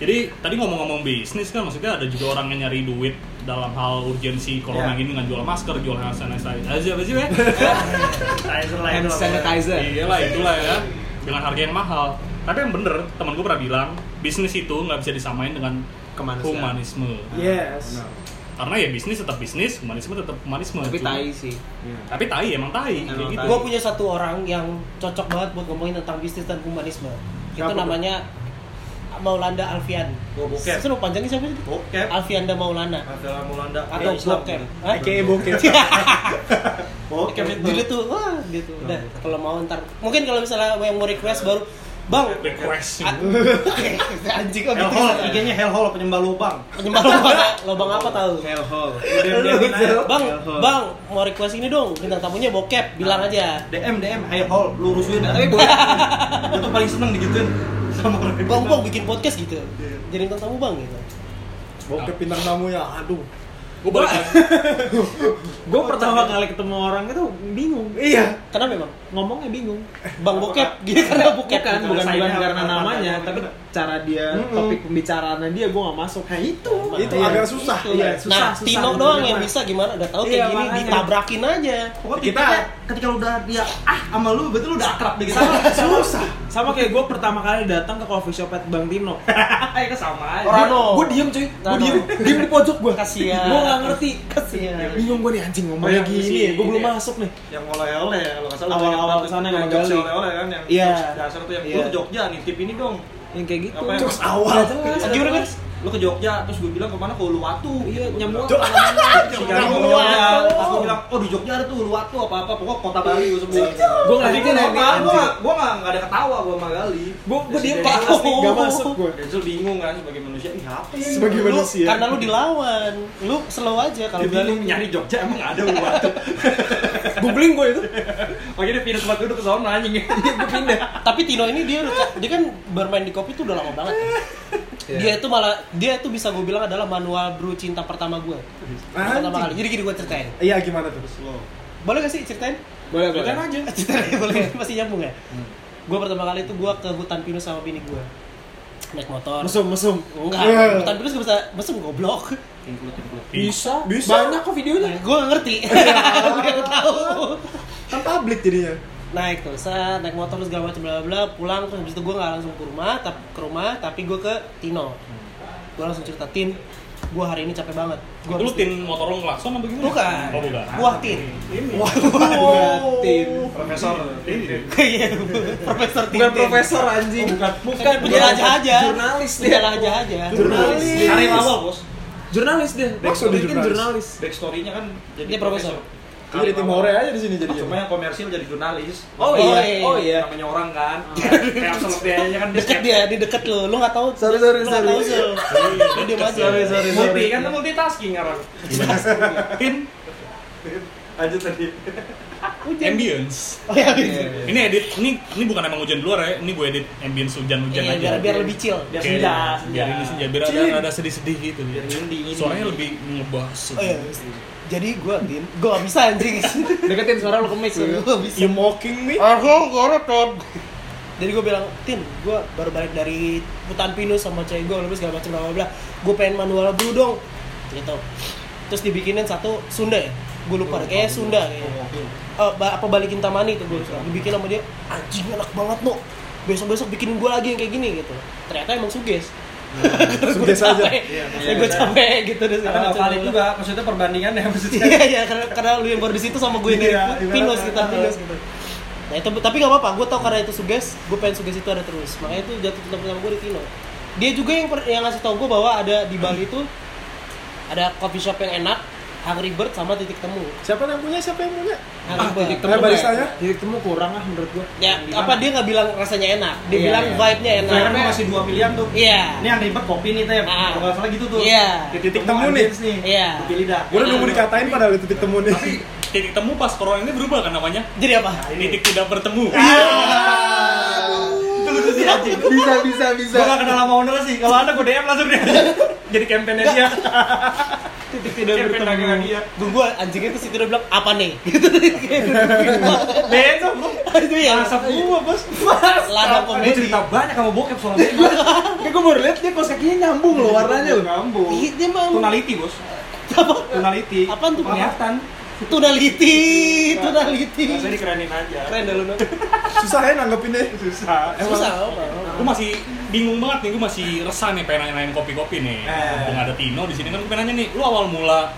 Speaker 1: Jadi tadi ngomong-ngomong bisnis kan maksudnya ada juga orang yang nyari duit dalam hal urgensi corona
Speaker 6: Iya.
Speaker 1: ini dengan jual masker, jual hand sanitizer. Aja apa sih, Be?
Speaker 6: Sanitizer lah
Speaker 5: hand
Speaker 6: itu.
Speaker 5: sanitizer.
Speaker 1: Iya lah itulah ya dengan harga yang mahal. Tapi yang bener temen gue pernah bilang bisnis itu nggak bisa disamain dengan
Speaker 5: Kemanusiaan.
Speaker 1: humanisme.
Speaker 6: Iya.
Speaker 2: Yes.
Speaker 1: Karena ya bisnis tetap bisnis, humanisme tetap humanisme.
Speaker 5: Tapi
Speaker 1: Cuma-
Speaker 5: tai sih.
Speaker 1: Tapi tai emang tai kayak
Speaker 5: Emang
Speaker 1: gitu.
Speaker 5: tai.
Speaker 4: Gue punya satu orang yang cocok banget buat ngomongin tentang bisnis dan humanisme. Itu
Speaker 2: Siapa tuh?
Speaker 4: namanya Maulanda Alfian.
Speaker 6: Gua bokep.
Speaker 4: Terus lu panjangnya siapa sih?
Speaker 6: Bokep.
Speaker 4: Alfianda Maulanda.
Speaker 6: Adalah Mulanda Eh,
Speaker 4: Atau bokep. Hah?
Speaker 2: Kayak bokep.
Speaker 6: Bokep
Speaker 4: Jadi tuh, wah gitu. Udah, kalau mau ntar. Mungkin kalau misalnya yang mau request baru, Bang,
Speaker 1: request
Speaker 4: a- <laughs> anjing kok gitu.
Speaker 6: Hellhole, IG-nya Hellhole penyembah lubang.
Speaker 4: Penyembah lubang, lubang apa tahu?
Speaker 5: Hellhole. Udah biarin aja.
Speaker 4: Bang,
Speaker 5: Hellhole.
Speaker 4: bang, mau request ini dong, bintang tamunya bokep,
Speaker 6: Nah,
Speaker 4: bilang
Speaker 5: Nah.
Speaker 4: aja.
Speaker 6: DM DM Hellhole lurusin. Tapi boleh. Gue tuh paling seneng digituin sama orang.
Speaker 4: Bang, bang bikin podcast gitu. Jadi bintang tamu bang gitu.
Speaker 2: Bokep bintang
Speaker 6: ya,
Speaker 2: tamunya, aduh.
Speaker 1: gue balik lagi
Speaker 5: Gue pertama kali ketemu orang itu bingung. Eh,
Speaker 2: Iya.
Speaker 4: Kenapa memang?
Speaker 5: Ngomongnya bingung.
Speaker 4: Bang bokep,
Speaker 5: Nah,
Speaker 4: gitu karena bokep.
Speaker 5: Iya, Bukan, bukan,
Speaker 6: Karena
Speaker 5: bukan
Speaker 6: saya-
Speaker 5: karena
Speaker 6: karena-
Speaker 5: namanya,
Speaker 6: karena-
Speaker 5: tapi cara dia,
Speaker 2: Mm-mm.
Speaker 5: topik pembicaraannya dia gue gak masuk. Nah itu.
Speaker 2: Itu
Speaker 5: Iya.
Speaker 2: agak susah.
Speaker 5: Iya, susah,
Speaker 4: Nah,
Speaker 5: susah.
Speaker 4: Tino
Speaker 5: Bener,
Speaker 4: doang yang
Speaker 5: Mas.
Speaker 4: bisa gimana? Udah tahu
Speaker 5: Iya,
Speaker 4: kayak gini,
Speaker 5: makanya.
Speaker 4: ditabrakin aja.
Speaker 6: Pokoknya
Speaker 2: Kita-
Speaker 6: kita ketika lu udah dia ah sama lu, berarti lu udah akrab <laughs> deh sama. Susah.
Speaker 5: Sama kayak gue pertama kali datang ke coffee shop at Bang Tino.
Speaker 6: Ayo ke sama aja.
Speaker 4: Orano.
Speaker 5: Gue diem cuy, gue
Speaker 4: Rano.
Speaker 5: diem, diem di pojok gue.
Speaker 4: Kasian.
Speaker 5: Gue gak ngerti. Iya,
Speaker 4: Kasian.
Speaker 5: Bingung gue nih anjing
Speaker 6: Oh,
Speaker 5: ngomongnya
Speaker 6: yang
Speaker 5: gini
Speaker 6: si-
Speaker 5: ya, gue belum
Speaker 6: ini ya.
Speaker 5: masuk nih.
Speaker 6: yang oleh-oleh ya, kalau nggak salah
Speaker 5: Awal-awal
Speaker 6: tuh yang
Speaker 5: kesana
Speaker 6: yang
Speaker 5: emang
Speaker 6: Jogja
Speaker 5: gali.
Speaker 6: oleh-oleh kan yang
Speaker 5: Iya.
Speaker 6: dasar tuh yang
Speaker 5: Iya.
Speaker 6: lu ke Jogja nitip ini dong
Speaker 5: Yang kayak gitu.
Speaker 6: Apa yang-
Speaker 2: Terus awal.
Speaker 5: Gak jelas.
Speaker 4: Ah, Gimana guys?
Speaker 6: lu ke Jogja terus gue bilang kemana ke Uluwatu
Speaker 5: Iya, nyamuk.
Speaker 2: Jok.
Speaker 6: <laughs> Jangan
Speaker 2: Uluwatu.
Speaker 6: ngomong Pas gue bilang, oh di Jogja ada tuh Uluwatu apa-apa Pokoknya kota Bali gue semua
Speaker 5: Gue nggak
Speaker 6: Tadi
Speaker 5: dikira
Speaker 6: gua
Speaker 5: ini,
Speaker 6: nggak-
Speaker 5: anjing.
Speaker 6: gua nggak- Gua nggak nggak ada ketawa gue sama Gali
Speaker 5: Gue gue
Speaker 6: Terus
Speaker 5: diem
Speaker 6: dia
Speaker 5: pak, Iya.
Speaker 6: jelas nih,
Speaker 5: gak masuk gue.
Speaker 6: Denzel bingung kan sebagai manusia, ini apa ya?
Speaker 2: Sebagai
Speaker 4: Lu,
Speaker 2: manusia.
Speaker 4: karena lu dilawan. Lu slow aja kalau
Speaker 6: Dia
Speaker 4: bilang.
Speaker 6: bingung nyari Jogja emang nggak ada Uluwatu
Speaker 5: Googling gue itu.
Speaker 6: <laughs> Makanya dia pindah tempat duduk ke sana <laughs> anjing ya Gue pindah
Speaker 4: Tapi Tino ini dia dia kan bermain di kopi tuh udah lama banget. Ya.
Speaker 5: Iya.
Speaker 4: Dia itu malah dia itu bisa gue bilang adalah manual brew cinta pertama gue. Pertama kali. Jadi gini gue ceritain.
Speaker 2: Iya gimana tuh?
Speaker 4: Boleh gak sih ceritain?
Speaker 5: Boleh, boleh. Hmm.
Speaker 6: Kan
Speaker 5: <laughs>
Speaker 6: aja
Speaker 4: Ceritain boleh. Masih nyambung ya? Gue pertama kali itu gue ke hutan pinus sama bini gue. Naik motor.
Speaker 5: Mesum, Iya. mesum.
Speaker 4: Enggak,
Speaker 2: Yeah.
Speaker 4: hutan pinus gak bisa mesum goblok.
Speaker 1: bisa
Speaker 2: Bisa.
Speaker 5: Banyak kok videonya.
Speaker 4: Gue Nah, ngerti. <laughs> Gue nggak tahu.
Speaker 2: Kan publik jadinya.
Speaker 4: naik tuh set, naik motor terus segala macam bla bla bla, pulang terus habis itu gue nggak langsung ke rumah tapi ke rumah tapi gue ke Tino gue langsung cerita Tin gue hari ini capek banget gue
Speaker 1: itu lu tin motor lo ngelakson apa gimana?
Speaker 4: bukan
Speaker 1: oh bukan
Speaker 4: buah Tin <laughs>
Speaker 2: Wah,
Speaker 5: Tim.
Speaker 6: Profesor ini.
Speaker 4: Iya, profesor Tin
Speaker 5: Bukan
Speaker 4: Tin.
Speaker 5: profesor anjing. Bukan,
Speaker 4: Oh, bukan penjelajah aja
Speaker 5: Jurnalis dia.
Speaker 4: penjelajah aja
Speaker 2: Jurnalis.
Speaker 6: Karyawan bos
Speaker 5: Jurnalis dia. Dia kan
Speaker 2: Maksudnya jurnalis.
Speaker 5: jurnalis.
Speaker 6: Backstory-nya kan jadi Iya,
Speaker 4: Dia profesor.
Speaker 2: Lu jadi tim hore aja di sini jadinya.
Speaker 6: Cuma yang komersil jadi jurnalis.
Speaker 5: Oh,
Speaker 4: iya.
Speaker 5: Oh, iya.
Speaker 6: Namanya orang kan. Kayak absolut dia aja kan
Speaker 4: deket dia di deket lo lo nggak tahu
Speaker 5: Sorry, sorry,
Speaker 4: lu nggak
Speaker 5: sorry.
Speaker 4: tahu Sul.
Speaker 5: <laughs>
Speaker 1: Iya,
Speaker 4: lu diem aja
Speaker 5: Sorry, sorry.
Speaker 6: Multi kan tuh multitasking orang.
Speaker 1: Iya.
Speaker 6: Tin. Aja tadi.
Speaker 4: hujan
Speaker 1: ambience
Speaker 4: oh, iya,
Speaker 5: Iya, iya.
Speaker 1: ini edit ini ini bukan emang hujan di luar ya ini gue edit ambience hujan-hujan
Speaker 4: Iya,
Speaker 1: aja
Speaker 4: biar biar lebih chill
Speaker 6: Biar
Speaker 1: Kayak-
Speaker 6: senja,
Speaker 1: biar
Speaker 6: senja.
Speaker 1: ini senja biar ada ada sedih-sedih gitu
Speaker 6: Biar ini
Speaker 1: suaranya lebih ngebas
Speaker 4: Oh, iya. jadi gue Tin gue nggak bisa anjing <laughs>
Speaker 5: Deketin suara lu ke mic.
Speaker 2: Iya.
Speaker 4: gue
Speaker 6: ya.
Speaker 4: nggak Iya, bisa
Speaker 2: You mocking me?
Speaker 4: Jadi gue bilang, Tin, gue baru balik dari hutan pinus sama cewek gue, lebih segala macam bla bla bla. Gue pengen manual brew dong, gitu. Terus dibikinin satu Sunda ya, gue
Speaker 6: Oh,
Speaker 4: lupa, kayaknya Sunda kayaknya. Eh, ba- apa balikin tamani itu gue lupa.
Speaker 6: Iya.
Speaker 4: Dibikin sama dia, anjing enak banget no. Besok besok bikin gue lagi yang kayak gini gitu. Ternyata emang suges. <laughs>
Speaker 2: Suges aja.
Speaker 6: Iya,
Speaker 4: Ya, gue capek gitu deh.
Speaker 6: Karena kan nggak valid juga, maksudnya perbandingannya <laughs> maksudnya.
Speaker 4: Iya iya karena, karena lu yang baru di situ sama gue yang dari
Speaker 6: Iya,
Speaker 4: pinus
Speaker 6: ibaratnya.
Speaker 4: kita pinus gitu. Nah itu tapi nggak apa-apa, gue tau karena itu suges, gue pengen suges itu ada terus. Makanya itu jatuh cinta pertama gue di Tino. Dia juga yang per- yang ngasih tau gue bahwa ada di Bali itu ada coffee shop yang enak, Hungry Bird sama titik temu.
Speaker 2: Siapa yang punya? Siapa yang punya?
Speaker 4: Hungry Bird.
Speaker 5: Ah, titik
Speaker 2: Temu baristanya?
Speaker 5: Jadi ketemu kurang ah menurut gua.
Speaker 4: Ya apa dia nggak bilang rasanya enak, dia
Speaker 5: Iya,
Speaker 4: bilang
Speaker 5: iya.
Speaker 4: vibe-nya enak. Nah,
Speaker 6: Karena masih kan dua pilihan tuh.
Speaker 4: Iya.
Speaker 6: Ini yang ribet kopi nih teh.
Speaker 4: Ah.
Speaker 6: Kalau nggak salah gitu tuh.
Speaker 4: Iya.
Speaker 2: Titik temu nih.
Speaker 6: ambience nih.
Speaker 4: Iya.
Speaker 6: Kopi lidah.
Speaker 2: Gue udah nunggu dikatain padahal di titik temu nih.
Speaker 1: titik temu pas corona ini berubah kan namanya
Speaker 4: Jadi apa?
Speaker 1: titik tidak bertemu
Speaker 4: Iya.
Speaker 6: Itu sih anjing.
Speaker 5: <laughs> Bisa bisa bisa.
Speaker 6: Gue gak kenal sama owner sih. Kalau ada gue DM langsung deh. Jadi kampanye dia.
Speaker 5: Titik tidak
Speaker 6: Campaign
Speaker 5: bertemu.
Speaker 6: lagi-lagi ya.
Speaker 4: Gue gue anjingnya terus itu dia bilang apa nih? <laughs> Gitu Itu
Speaker 6: Besok lu.
Speaker 4: ya.
Speaker 6: Asap gua bos.
Speaker 4: Lada
Speaker 6: Gue
Speaker 4: komedi.
Speaker 6: cerita banyak sama bokep soalnya.
Speaker 5: Kayak gua baru lihat dia kos kakinya nyambung loh warnanya loh.
Speaker 6: Ngambung.
Speaker 4: Iya, Dia mau
Speaker 6: Tonality bos. Tonality.
Speaker 4: Apaan tuh?
Speaker 6: Penglihatan.
Speaker 4: Tunaliti, tunaliti.
Speaker 6: Iya. Nah, Saya dikerenin aja.
Speaker 4: Keren dah lu. Nok.
Speaker 2: Susah ya nanggepinnya.
Speaker 6: Susah.
Speaker 4: Susah apa?
Speaker 1: gue masih bingung banget nih gue masih resah nih pengen nanya kopi-kopi nih
Speaker 4: Iya.
Speaker 6: Eh.
Speaker 1: mumpung ada Tino di sini kan gue pengen nanya nih lu awal mula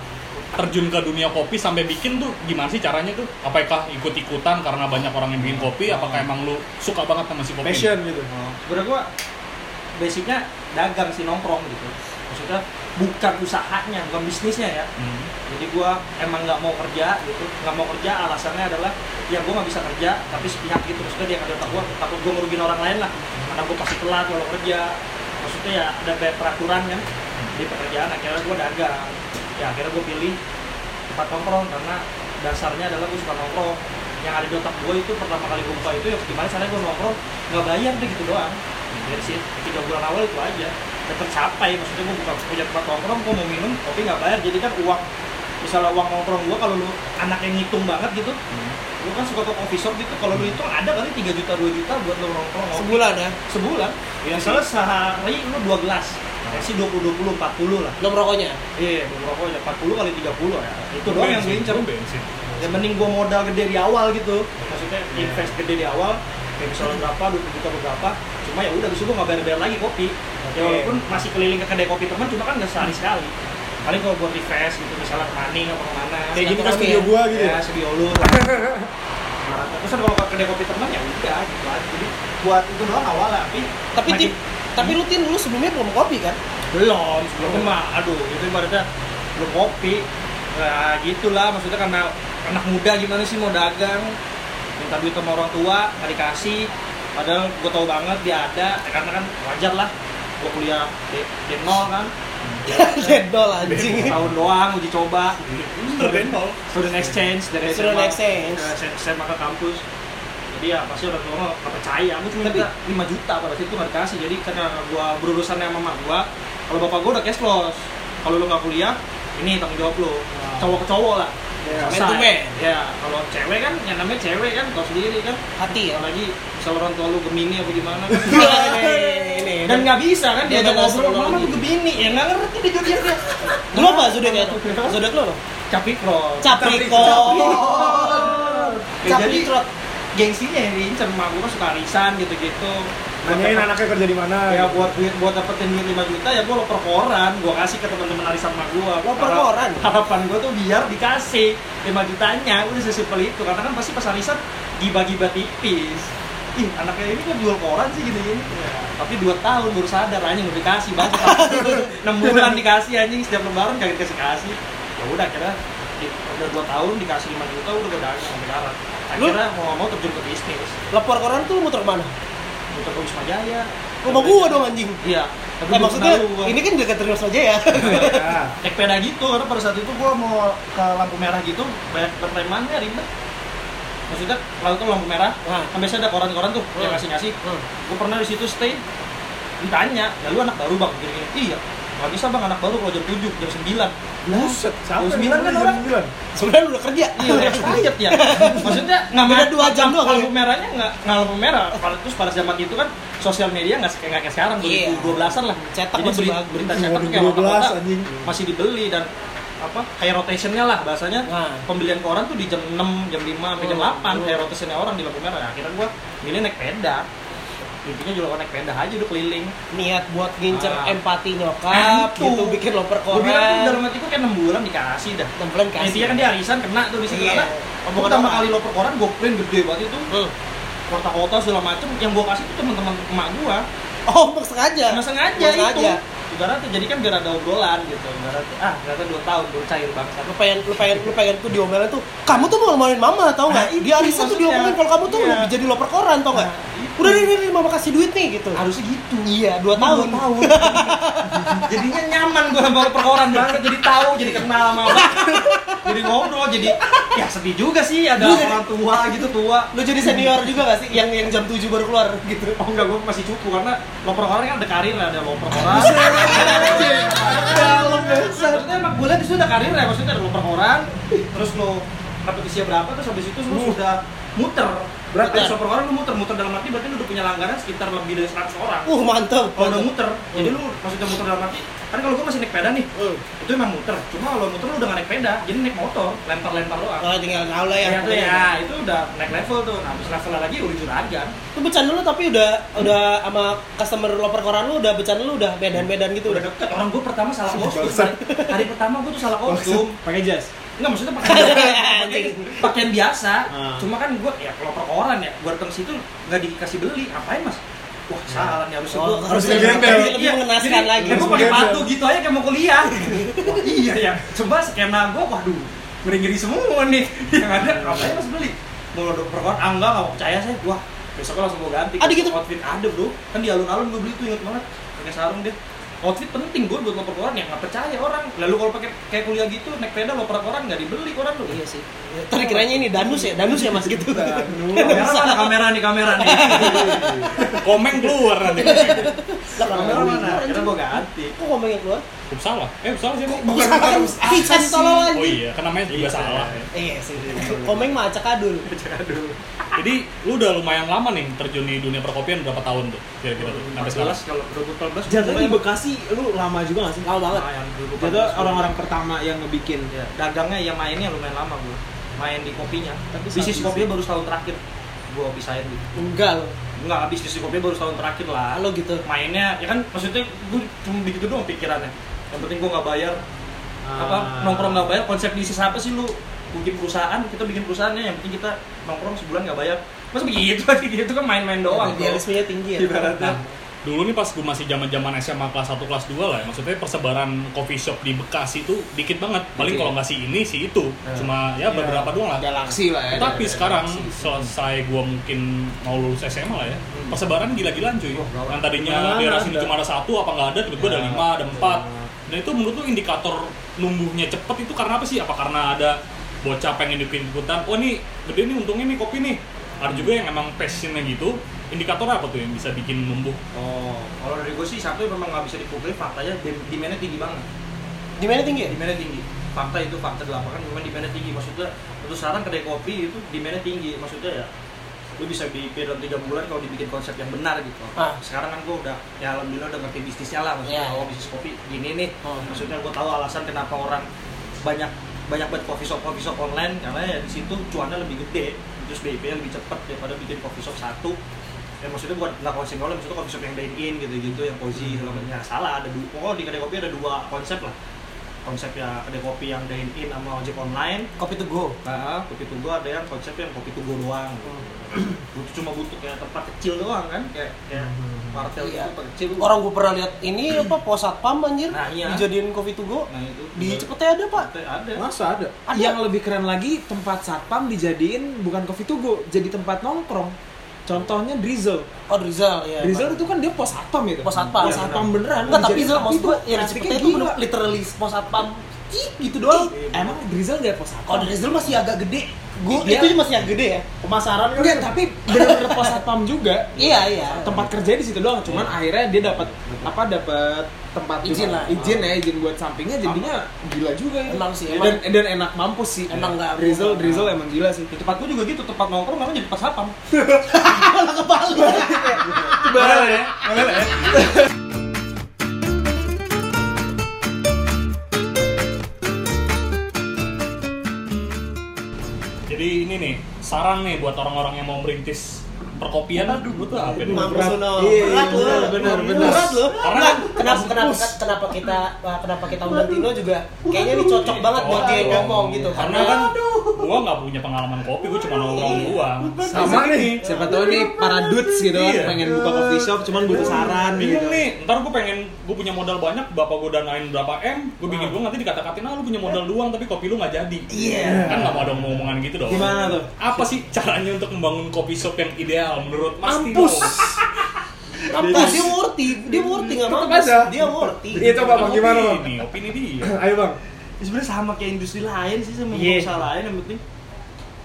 Speaker 1: terjun ke dunia kopi sampai bikin tuh gimana sih caranya tuh apakah ikut-ikutan karena banyak orang yang bikin kopi apakah
Speaker 4: Iya.
Speaker 1: emang lu suka banget sama si kopi
Speaker 6: Oh,
Speaker 2: Passion gitu.
Speaker 6: Sebenernya gue basicnya dagang sih nongkrong gitu. maksudnya bukan usahanya bukan bisnisnya ya
Speaker 1: Hmm.
Speaker 6: jadi gua emang nggak mau kerja gitu nggak mau kerja alasannya adalah ya gua nggak bisa kerja tapi sepihak gitu maksudnya dia kerja otak gua takut gua ngerugiin orang lain lah karena gua pasti telat kalau kerja maksudnya ya ada kayak peraturan kan di pekerjaan akhirnya gua dagang ya akhirnya gua pilih tempat nongkrong karena dasarnya adalah gua suka nongkrong yang ada di otak gua itu pertama kali gua buka itu ya gimana caranya gua nongkrong nggak bayar deh gitu doang dari sih tiga bulan awal itu aja dan tercapai maksudnya gua buka punya tempat nongkrong gua mau minum kopi nggak bayar jadi kan uang misalnya uang nongkrong gua kalau lu anak yang ngitung banget gitu lu kan suka ke coffee shop gitu kalau lu hitung ada kali 3 juta 2 juta buat lu nongkrong ngopi.
Speaker 4: Sebulan ya.
Speaker 6: sebulan ya misalnya sehari lu 2 gelas sih 20 20 40 lah
Speaker 4: Lo merokoknya.
Speaker 6: iya belum rokoknya 40 kali 30 ya itu doang yang
Speaker 1: Bensin,
Speaker 6: gincer
Speaker 1: bensin.
Speaker 6: ya mending gua modal gede di awal gitu maksudnya invest gede di awal kayak misalnya berapa 20 juta berapa cuma ya udah besok gua nggak bayar-bayar lagi kopi ya walaupun masih keliling ke kedai kopi teman cuma kan nggak sehari sekali paling kalau buat refresh gitu misalnya ke Maning atau kemana
Speaker 4: Kayak gitu kan
Speaker 2: Video
Speaker 4: ya.
Speaker 2: gua gitu
Speaker 6: ya
Speaker 2: ya.
Speaker 6: studio lu terus kan kalau ke kedai kopi teman ya udah gitu aja jadi buat itu doang awal lah tapi
Speaker 4: Tapi tip,
Speaker 6: makin-
Speaker 4: tapi rutin lu sebelumnya belum kopi kan?
Speaker 6: belum sebelumnya mah aduh itu ibaratnya belum kopi nah gitulah maksudnya karena anak muda gimana sih mau dagang minta duit sama orang tua nggak dikasih padahal gue tahu banget dia ada ya karena kan wajar lah gue kuliah di, di nol kan
Speaker 4: <laughs> Jedol anjing.
Speaker 6: tahun doang uji coba
Speaker 1: Bentol.
Speaker 6: student exchange dari
Speaker 4: Student
Speaker 6: SMA,
Speaker 4: exchange.
Speaker 6: ke SMA, ke kampus jadi ya pasti orang tua nggak percaya aku cuma
Speaker 4: Tapi-
Speaker 6: minta 5 juta pada saat itu nggak dikasih jadi karena gua berurusan sama mama gua kalau bapak gua udah cash loss kalau lu nggak kuliah ini tanggung jawab lu cowok ke cowok lah
Speaker 4: Man to man.
Speaker 6: ya kalau cewek kan yang namanya cewek kan tau sendiri kan
Speaker 4: Hati ya.
Speaker 6: apalagi misalnya orang tua lu gemini apa gimana kan.
Speaker 4: Iya. Ini,
Speaker 6: dan nggak bisa kan dia
Speaker 4: Dia
Speaker 6: ngobrol
Speaker 4: astrologi.
Speaker 6: mama lu gemini ya nggak ngerti di dunia dia
Speaker 4: iya, Lu apa zodiaknya tuh? Zodiak lu apa?
Speaker 6: Capricorn
Speaker 4: Capricorn.
Speaker 6: Ya, jadi
Speaker 4: Capricorn.
Speaker 6: gengsinya yang diincer mak gue suka arisan gitu-gitu Buat
Speaker 2: Nanyain
Speaker 6: dapet-
Speaker 2: anaknya kerja di mana.
Speaker 6: ya
Speaker 2: gitu.
Speaker 6: buat duit buat dapetin duit 5 juta ya gue loper koran gue kasih ke teman-teman arisan mak gue
Speaker 4: Loper koran?
Speaker 6: harapan gue tuh biar dikasih 5 jutanya udah sesimpel itu karena kan pasti pas arisan giba-giba tipis ih anaknya ini kan jual koran sih gini-gini Ya, tapi 2 tahun baru sadar anjing udah dikasih banget
Speaker 4: <laughs>
Speaker 6: 6 bulan dikasih anjing setiap lebaran kagak dikasih kasih ya udah akhirnya di- udah 2 tahun dikasih 5 juta udah gak ada sampai sekarang akhirnya mau nggak mau terjun ke bisnis
Speaker 4: Lepor koran tuh lu muter kemana?
Speaker 6: untuk ke Wisma Jaya
Speaker 4: Rumah gua dong anjing.
Speaker 6: iya
Speaker 4: Eh
Speaker 6: tapi belum
Speaker 4: maksudnya
Speaker 6: kenal lu, gua.
Speaker 4: ini kan dekat terus aja
Speaker 6: <laughs>
Speaker 4: ya.
Speaker 2: Ya.
Speaker 6: naik peda gitu karena pada saat itu gua mau ke lampu merah gitu bayar pertemannya ribet maksudnya lalu tuh lampu merah
Speaker 4: Nah.
Speaker 6: kan biasanya ada koran-koran tuh yang
Speaker 4: Hmm.
Speaker 6: ngasih-ngasih
Speaker 4: Hmm.
Speaker 6: gua pernah di situ stay ditanya ya lu anak baru bang gini-gini iya nggak bisa bang anak baru kalau jam 7, jam 9
Speaker 2: Buset, siapa
Speaker 6: Jam
Speaker 2: yang
Speaker 6: sembilan kan
Speaker 2: jam
Speaker 6: orang?
Speaker 2: sembilan?
Speaker 4: Sebenarnya lu udah kerja.
Speaker 6: iya expired ya maksudnya nggak
Speaker 4: Beda
Speaker 6: merah
Speaker 4: dua jam doang ya? kali.
Speaker 6: lampu merahnya nggak nggak lampu merah Pada- terus pada zaman itu kan sosial media nggak se- kayak kayak sekarang
Speaker 4: Iya.
Speaker 6: 2012an lah
Speaker 4: Cetak
Speaker 6: jadi
Speaker 4: masih
Speaker 6: beri-
Speaker 4: bagus.
Speaker 6: berita cetak tuh kayak
Speaker 2: 2012
Speaker 6: kotak-kotak.
Speaker 2: anjing.
Speaker 6: masih dibeli dan apa high rotationnya lah bahasanya
Speaker 4: Nah.
Speaker 6: pembelian koran tuh di jam 6, jam 5, sampai jam
Speaker 4: Hmm.
Speaker 6: 8 high rotationnya orang di lampu merah Ya, akhirnya gua milih naik peda intinya juga gua naik peda aja udah keliling
Speaker 4: Niat buat ngincer
Speaker 6: Ah. Nah,
Speaker 4: empati nyokap
Speaker 6: Itu.
Speaker 4: gitu bikin loper
Speaker 6: gua bilang tuh dalam
Speaker 4: koran.
Speaker 6: hati gua kayak 6 bulan dikasih dah
Speaker 4: Tempelan
Speaker 6: Nah,
Speaker 4: kasih.
Speaker 6: intinya kan dia arisan kena tuh di situ
Speaker 4: Iya.
Speaker 6: karena
Speaker 4: Omongan
Speaker 6: pertama
Speaker 4: orang.
Speaker 6: kali lo koran gue print gede banget itu
Speaker 4: Hmm.
Speaker 6: kota-kota segala macem yang gue kasih tuh teman-teman emak gue
Speaker 4: Oh, untuk sengaja.
Speaker 6: emang sengaja
Speaker 4: Emang
Speaker 6: itu
Speaker 4: sengaja.
Speaker 6: ibaratnya jadi kan biar ada obrolan gitu ibaratnya ah ternyata dua tahun baru cair bangsa
Speaker 4: lu pengen lu pengen lu pengen tuh diomelin tuh kamu tuh mau ngomongin mama tau nggak
Speaker 6: Nah, itu
Speaker 4: dia arisan tuh
Speaker 6: maksudnya.
Speaker 4: diomelin kalau kamu tuh
Speaker 6: Iya.
Speaker 4: mau jadi loper koran tau nggak
Speaker 6: Nah, itu.
Speaker 4: udah nih nih nih, mama kasih duit nih gitu
Speaker 6: harusnya gitu
Speaker 4: iya dua
Speaker 6: Emang
Speaker 4: tahun
Speaker 6: dua jadinya nyaman gue sama perkoran banget jadi tahu jadi kenal sama orang. jadi ngobrol jadi ya sedih juga sih ada
Speaker 4: Lu jadi-
Speaker 6: orang tua gitu tua
Speaker 4: lu jadi senior juga gak sih yang yang jam 7 baru keluar gitu
Speaker 6: oh enggak gue masih cukup karena loper koran kan ada karir ada loper koran
Speaker 4: dalam
Speaker 6: Maksudnya emang gue liat disitu udah karir ya, maksudnya ada lo perkoran, terus lo kompetisinya berapa, terus habis itu lo sudah muter
Speaker 2: Berat,
Speaker 6: Berarti
Speaker 4: ya?
Speaker 6: lo perkoran lo muter, muter dalam arti berarti lo udah punya langganan sekitar lebih dari 100 orang
Speaker 4: uh mantep
Speaker 6: Kalau udah muter, jadi lo maksudnya muter dalam arti Kan kalau gue masih naik peda nih,
Speaker 4: Hmm.
Speaker 6: itu emang muter Cuma kalau muter lo udah gak naik peda, jadi naik motor, lempar-lempar doang
Speaker 4: Oh, tinggal tahu lah ya.
Speaker 6: Ya, tuh ya, itu udah naik level tuh, nah habis level lagi udah juragan
Speaker 4: Itu becan lu tapi udah udah sama customer loper koran lu udah becan lu udah medan-medan gitu.
Speaker 6: Udah deket, orang gue pertama salah kostum
Speaker 2: Bangsat.
Speaker 6: Hari- Hari pertama gue tuh salah kostum
Speaker 2: Pakai jas.
Speaker 6: Enggak
Speaker 4: <laughs>
Speaker 6: maksudnya pakaian
Speaker 4: Anjing.
Speaker 6: pakaian biasa.
Speaker 2: Ah.
Speaker 6: Cuma kan gua ya kalau per koran ya, gua datang situ nggak dikasih beli, ngapain Mas? wah salah nih harusnya
Speaker 4: Oh,
Speaker 6: gua
Speaker 2: harusnya
Speaker 6: gua-
Speaker 2: gembel.
Speaker 6: Iya,
Speaker 4: Lebih mengenaskan
Speaker 6: jadi,
Speaker 4: lagi.
Speaker 6: ya gua pakai
Speaker 2: Gembel.
Speaker 6: batu gitu aja kayak mau kuliah wah iya ya coba skena gua waduh ngeri-ngeri semua nih yang ada rasanya harus beli mau lo perkuat ah enggak nggak percaya saya wah besoknya langsung gua ganti
Speaker 4: Ada gitu?
Speaker 6: outfit ada bro kan di alun-alun gua beli tuh inget banget pakai sarung deh outfit penting gua buat loper koran yang nggak percaya orang lalu kalau pakai kayak kuliah gitu naik peda loper koran nggak dibeli koran lu
Speaker 4: Iya sih. Ya, Tadi kiranya ini danus ya, danus ya mas gitu.
Speaker 6: kamera mana kamera nih kamera
Speaker 4: <laughs>
Speaker 6: nih
Speaker 4: Iya.
Speaker 1: Komeng keluar <laughs> nanti.
Speaker 4: Lah
Speaker 6: kamera mana akhirnya gua ganti
Speaker 4: Kok ngomongnya keluar?
Speaker 1: Salah. Eh, salah sih. Bu.
Speaker 2: Bukan
Speaker 4: Kan
Speaker 2: harus
Speaker 4: Kita ditolong
Speaker 1: Oh
Speaker 4: lagi.
Speaker 1: iya, kan namanya juga salah.
Speaker 4: Iya sih. Komeng mah acak adul.
Speaker 1: Jadi lu udah lumayan lama nih terjun di dunia perkopian berapa tahun tuh? Kira-kira tuh sampai sekarang.
Speaker 6: 14 kalau 2014
Speaker 5: Jatuh di
Speaker 6: mulai-
Speaker 5: Bekasi lu lama juga gak sih?
Speaker 4: Lama banget.
Speaker 6: Lumayan, 2014.
Speaker 5: Jatuh orang-orang pertama yang ngebikin
Speaker 6: Ya, dagangnya ya mainnya lumayan lama gue main di kopinya
Speaker 4: Tapi
Speaker 6: bisnis
Speaker 4: satu
Speaker 6: kopinya baru setahun terakhir gue pisahin gitu
Speaker 4: Enggak loh.
Speaker 6: nggak habis bisnis kopinya baru setahun terakhir lah
Speaker 4: Halo gitu.
Speaker 6: mainnya ya kan maksudnya gue cuma begitu doang pikirannya yang penting gue nggak bayar apa nongkrong nggak bayar konsep bisnis apa sih lu bikin perusahaan kita bikin perusahaannya yang penting kita nongkrong sebulan nggak bayar masa begitu <laughs> itu kan main-main doang bro.
Speaker 4: Idealismenya tinggi ya.
Speaker 6: ibaratnya
Speaker 1: Dulu nih pas gue masih zaman-zaman SMA kelas 1 kelas 2 lah ya, maksudnya persebaran coffee shop di Bekasi tuh dikit banget. Paling kalau nggak si ini si itu, cuma ya beberapa doang lah.
Speaker 5: galaksi lah ya.
Speaker 1: Tapi sekarang selesai gua mungkin mau lulus SMA lah ya, persebaran gila-gilaan cuy.
Speaker 6: Wah, gawat.
Speaker 1: Yang tadinya
Speaker 2: Gimana
Speaker 1: daerah sini
Speaker 2: ada?
Speaker 1: cuma Oh, ada Iya, satu apa nggak ada, tiba-tiba ada lima, ada empat. Nah itu menurut lu indikator numbuhnya cepet itu karena apa sih? Apa karena ada bocah pengen ikut-ikutan? Oh nih gede nih untungnya nih kopi nih. Ada juga yang emang passionnya gitu. Indikator apa tuh yang bisa bikin numbuh?
Speaker 6: oh kalau dari gue sih satu memang nggak bisa dipukuli faktanya dem- demandnya tinggi banget
Speaker 4: Di mana tinggi ya?
Speaker 6: Iya, demandnya tinggi fakta itu fakta di lapangan memang demandnya tinggi maksudnya untuk saran kedai kopi itu demandnya tinggi maksudnya ya lu bisa bikin dalam tiga bulan kalau dibikin konsep yang benar gitu
Speaker 4: Ah.
Speaker 6: sekarang kan gua udah ya alhamdulillah udah ngerti bisnisnya lah maksudnya
Speaker 4: Iya.
Speaker 6: kalau bisnis kopi gini nih
Speaker 4: Oh.
Speaker 6: maksudnya gua tahu alasan kenapa orang banyak banyak buat coffee shop coffee shop online karena ya di situ cuannya lebih gede terus BIP lebih cepet daripada bikin coffee shop satu ya maksudnya buat nggak konsep online maksudnya coffee shop yang dine in gitu gitu yang
Speaker 4: Hmm.
Speaker 6: cozy segala macam. Ya, salah ada dua pokoknya di kedai kopi ada dua konsep lah konsep ya kedai kopi yang dine in sama ojek online
Speaker 4: Kopi to go.
Speaker 6: nah kopi tugo ada yang konsep yang kopi tugo doang
Speaker 4: Hmm.
Speaker 6: butuh cuma butuh kayak tempat kecil doang kan kayak kayak martel
Speaker 4: Iya.
Speaker 6: gitu tempat kecil
Speaker 4: Orang gue pernah lihat <clears throat> ini apa pos satpam anjir.
Speaker 6: Nah, iya.
Speaker 4: Dijadiin kopi to go.
Speaker 6: nah itu
Speaker 4: Di Cepete ada pak.
Speaker 6: ada
Speaker 5: Masa ada?
Speaker 4: Ada.
Speaker 5: Yang lebih keren lagi tempat satpam dijadiin bukan coffee to go, jadi tempat nongkrong. Contohnya Drizzle.
Speaker 4: Oh di Rizal ya.
Speaker 5: Drizzle itu kan dia pos satpam itu.
Speaker 4: Pos satpam.
Speaker 5: Pos satpam beneran.
Speaker 4: Iya, Enggak, tapi
Speaker 5: Dijadiin-
Speaker 4: Rizal maksud gue yang di
Speaker 5: praktiknya
Speaker 4: Cepete itu
Speaker 5: gila.
Speaker 4: bener literally pos satpam. Ih, gitu doang.
Speaker 5: Emang Drizzle dia pos satpam.
Speaker 4: Kalau di Rizal masih agak gede. Gue
Speaker 5: Iya.
Speaker 4: itu masih agak gede ya.
Speaker 2: pemasaran kan?
Speaker 5: Enggak, tapi bener-bener pos satpam juga.
Speaker 4: Iya iya.
Speaker 5: Tempat kerja di situ doang, cuman akhirnya dia dapat apa dapat tempat
Speaker 4: Izin lah.
Speaker 5: izin ya, izin buat sampingnya jadinya gila juga itu.
Speaker 4: Emang sih,
Speaker 5: dan,
Speaker 4: emang.
Speaker 5: dan enak mampus sih.
Speaker 4: Emang nggak-
Speaker 5: Drizzle, Drizzle emang gila sih.
Speaker 6: di tempat gua juga gitu tempat nongkrong namanya jadi tempat satpam
Speaker 2: Boleh ya? Boleh ya?
Speaker 1: Jadi ini nih saran nih buat orang-orang yang mau merintis perkopian. Aduh, gue tuh apa nih?
Speaker 4: Mampus
Speaker 2: Berat.
Speaker 4: Uno.
Speaker 5: Iya,
Speaker 4: Berat
Speaker 5: iya,
Speaker 4: lo.
Speaker 5: benar, benar.
Speaker 4: Berat lo.
Speaker 1: Karena-
Speaker 4: Enggak, kan kenapa kenapa kenapa kita kenapa kita undang Tino juga kayaknya ini cocok banget buat dia yang ngomong
Speaker 2: Iya,
Speaker 4: gitu.
Speaker 1: Karena kan gua nggak punya pengalaman kopi, gua cuma nongkrong
Speaker 4: Iya.
Speaker 1: doang.
Speaker 2: Sama nih.
Speaker 5: Siapa tahu nih para dudes gitu kan
Speaker 1: Iya.
Speaker 5: pengen buka coffee shop cuman
Speaker 6: Iya.
Speaker 4: Iya.
Speaker 5: butuh saran gitu.
Speaker 1: Bingung nih, ntar gue pengen, gue punya modal banyak, bapak gue danain berapa M, gue bikin gue nanti dikata-katain, ah lu punya modal doang tapi kopi lu nggak jadi. Iya. Kan nggak mau ada omongan gitu dong.
Speaker 5: Gimana tuh?
Speaker 1: Apa sih caranya untuk membangun kopi shop yang ideal menurut Mas Tino?
Speaker 2: Mampus.
Speaker 4: Apa dia worthy, dia worthy enggak
Speaker 2: kan Tetep
Speaker 4: mampus.
Speaker 2: aja.
Speaker 4: Dia worthy.
Speaker 2: Iya coba bang, gimana bang?
Speaker 1: Opini, opini dia.
Speaker 2: Ayo bang,
Speaker 6: Ya sebenarnya sama kayak industri lain sih sama
Speaker 4: Iya.
Speaker 6: pengusaha lain yang penting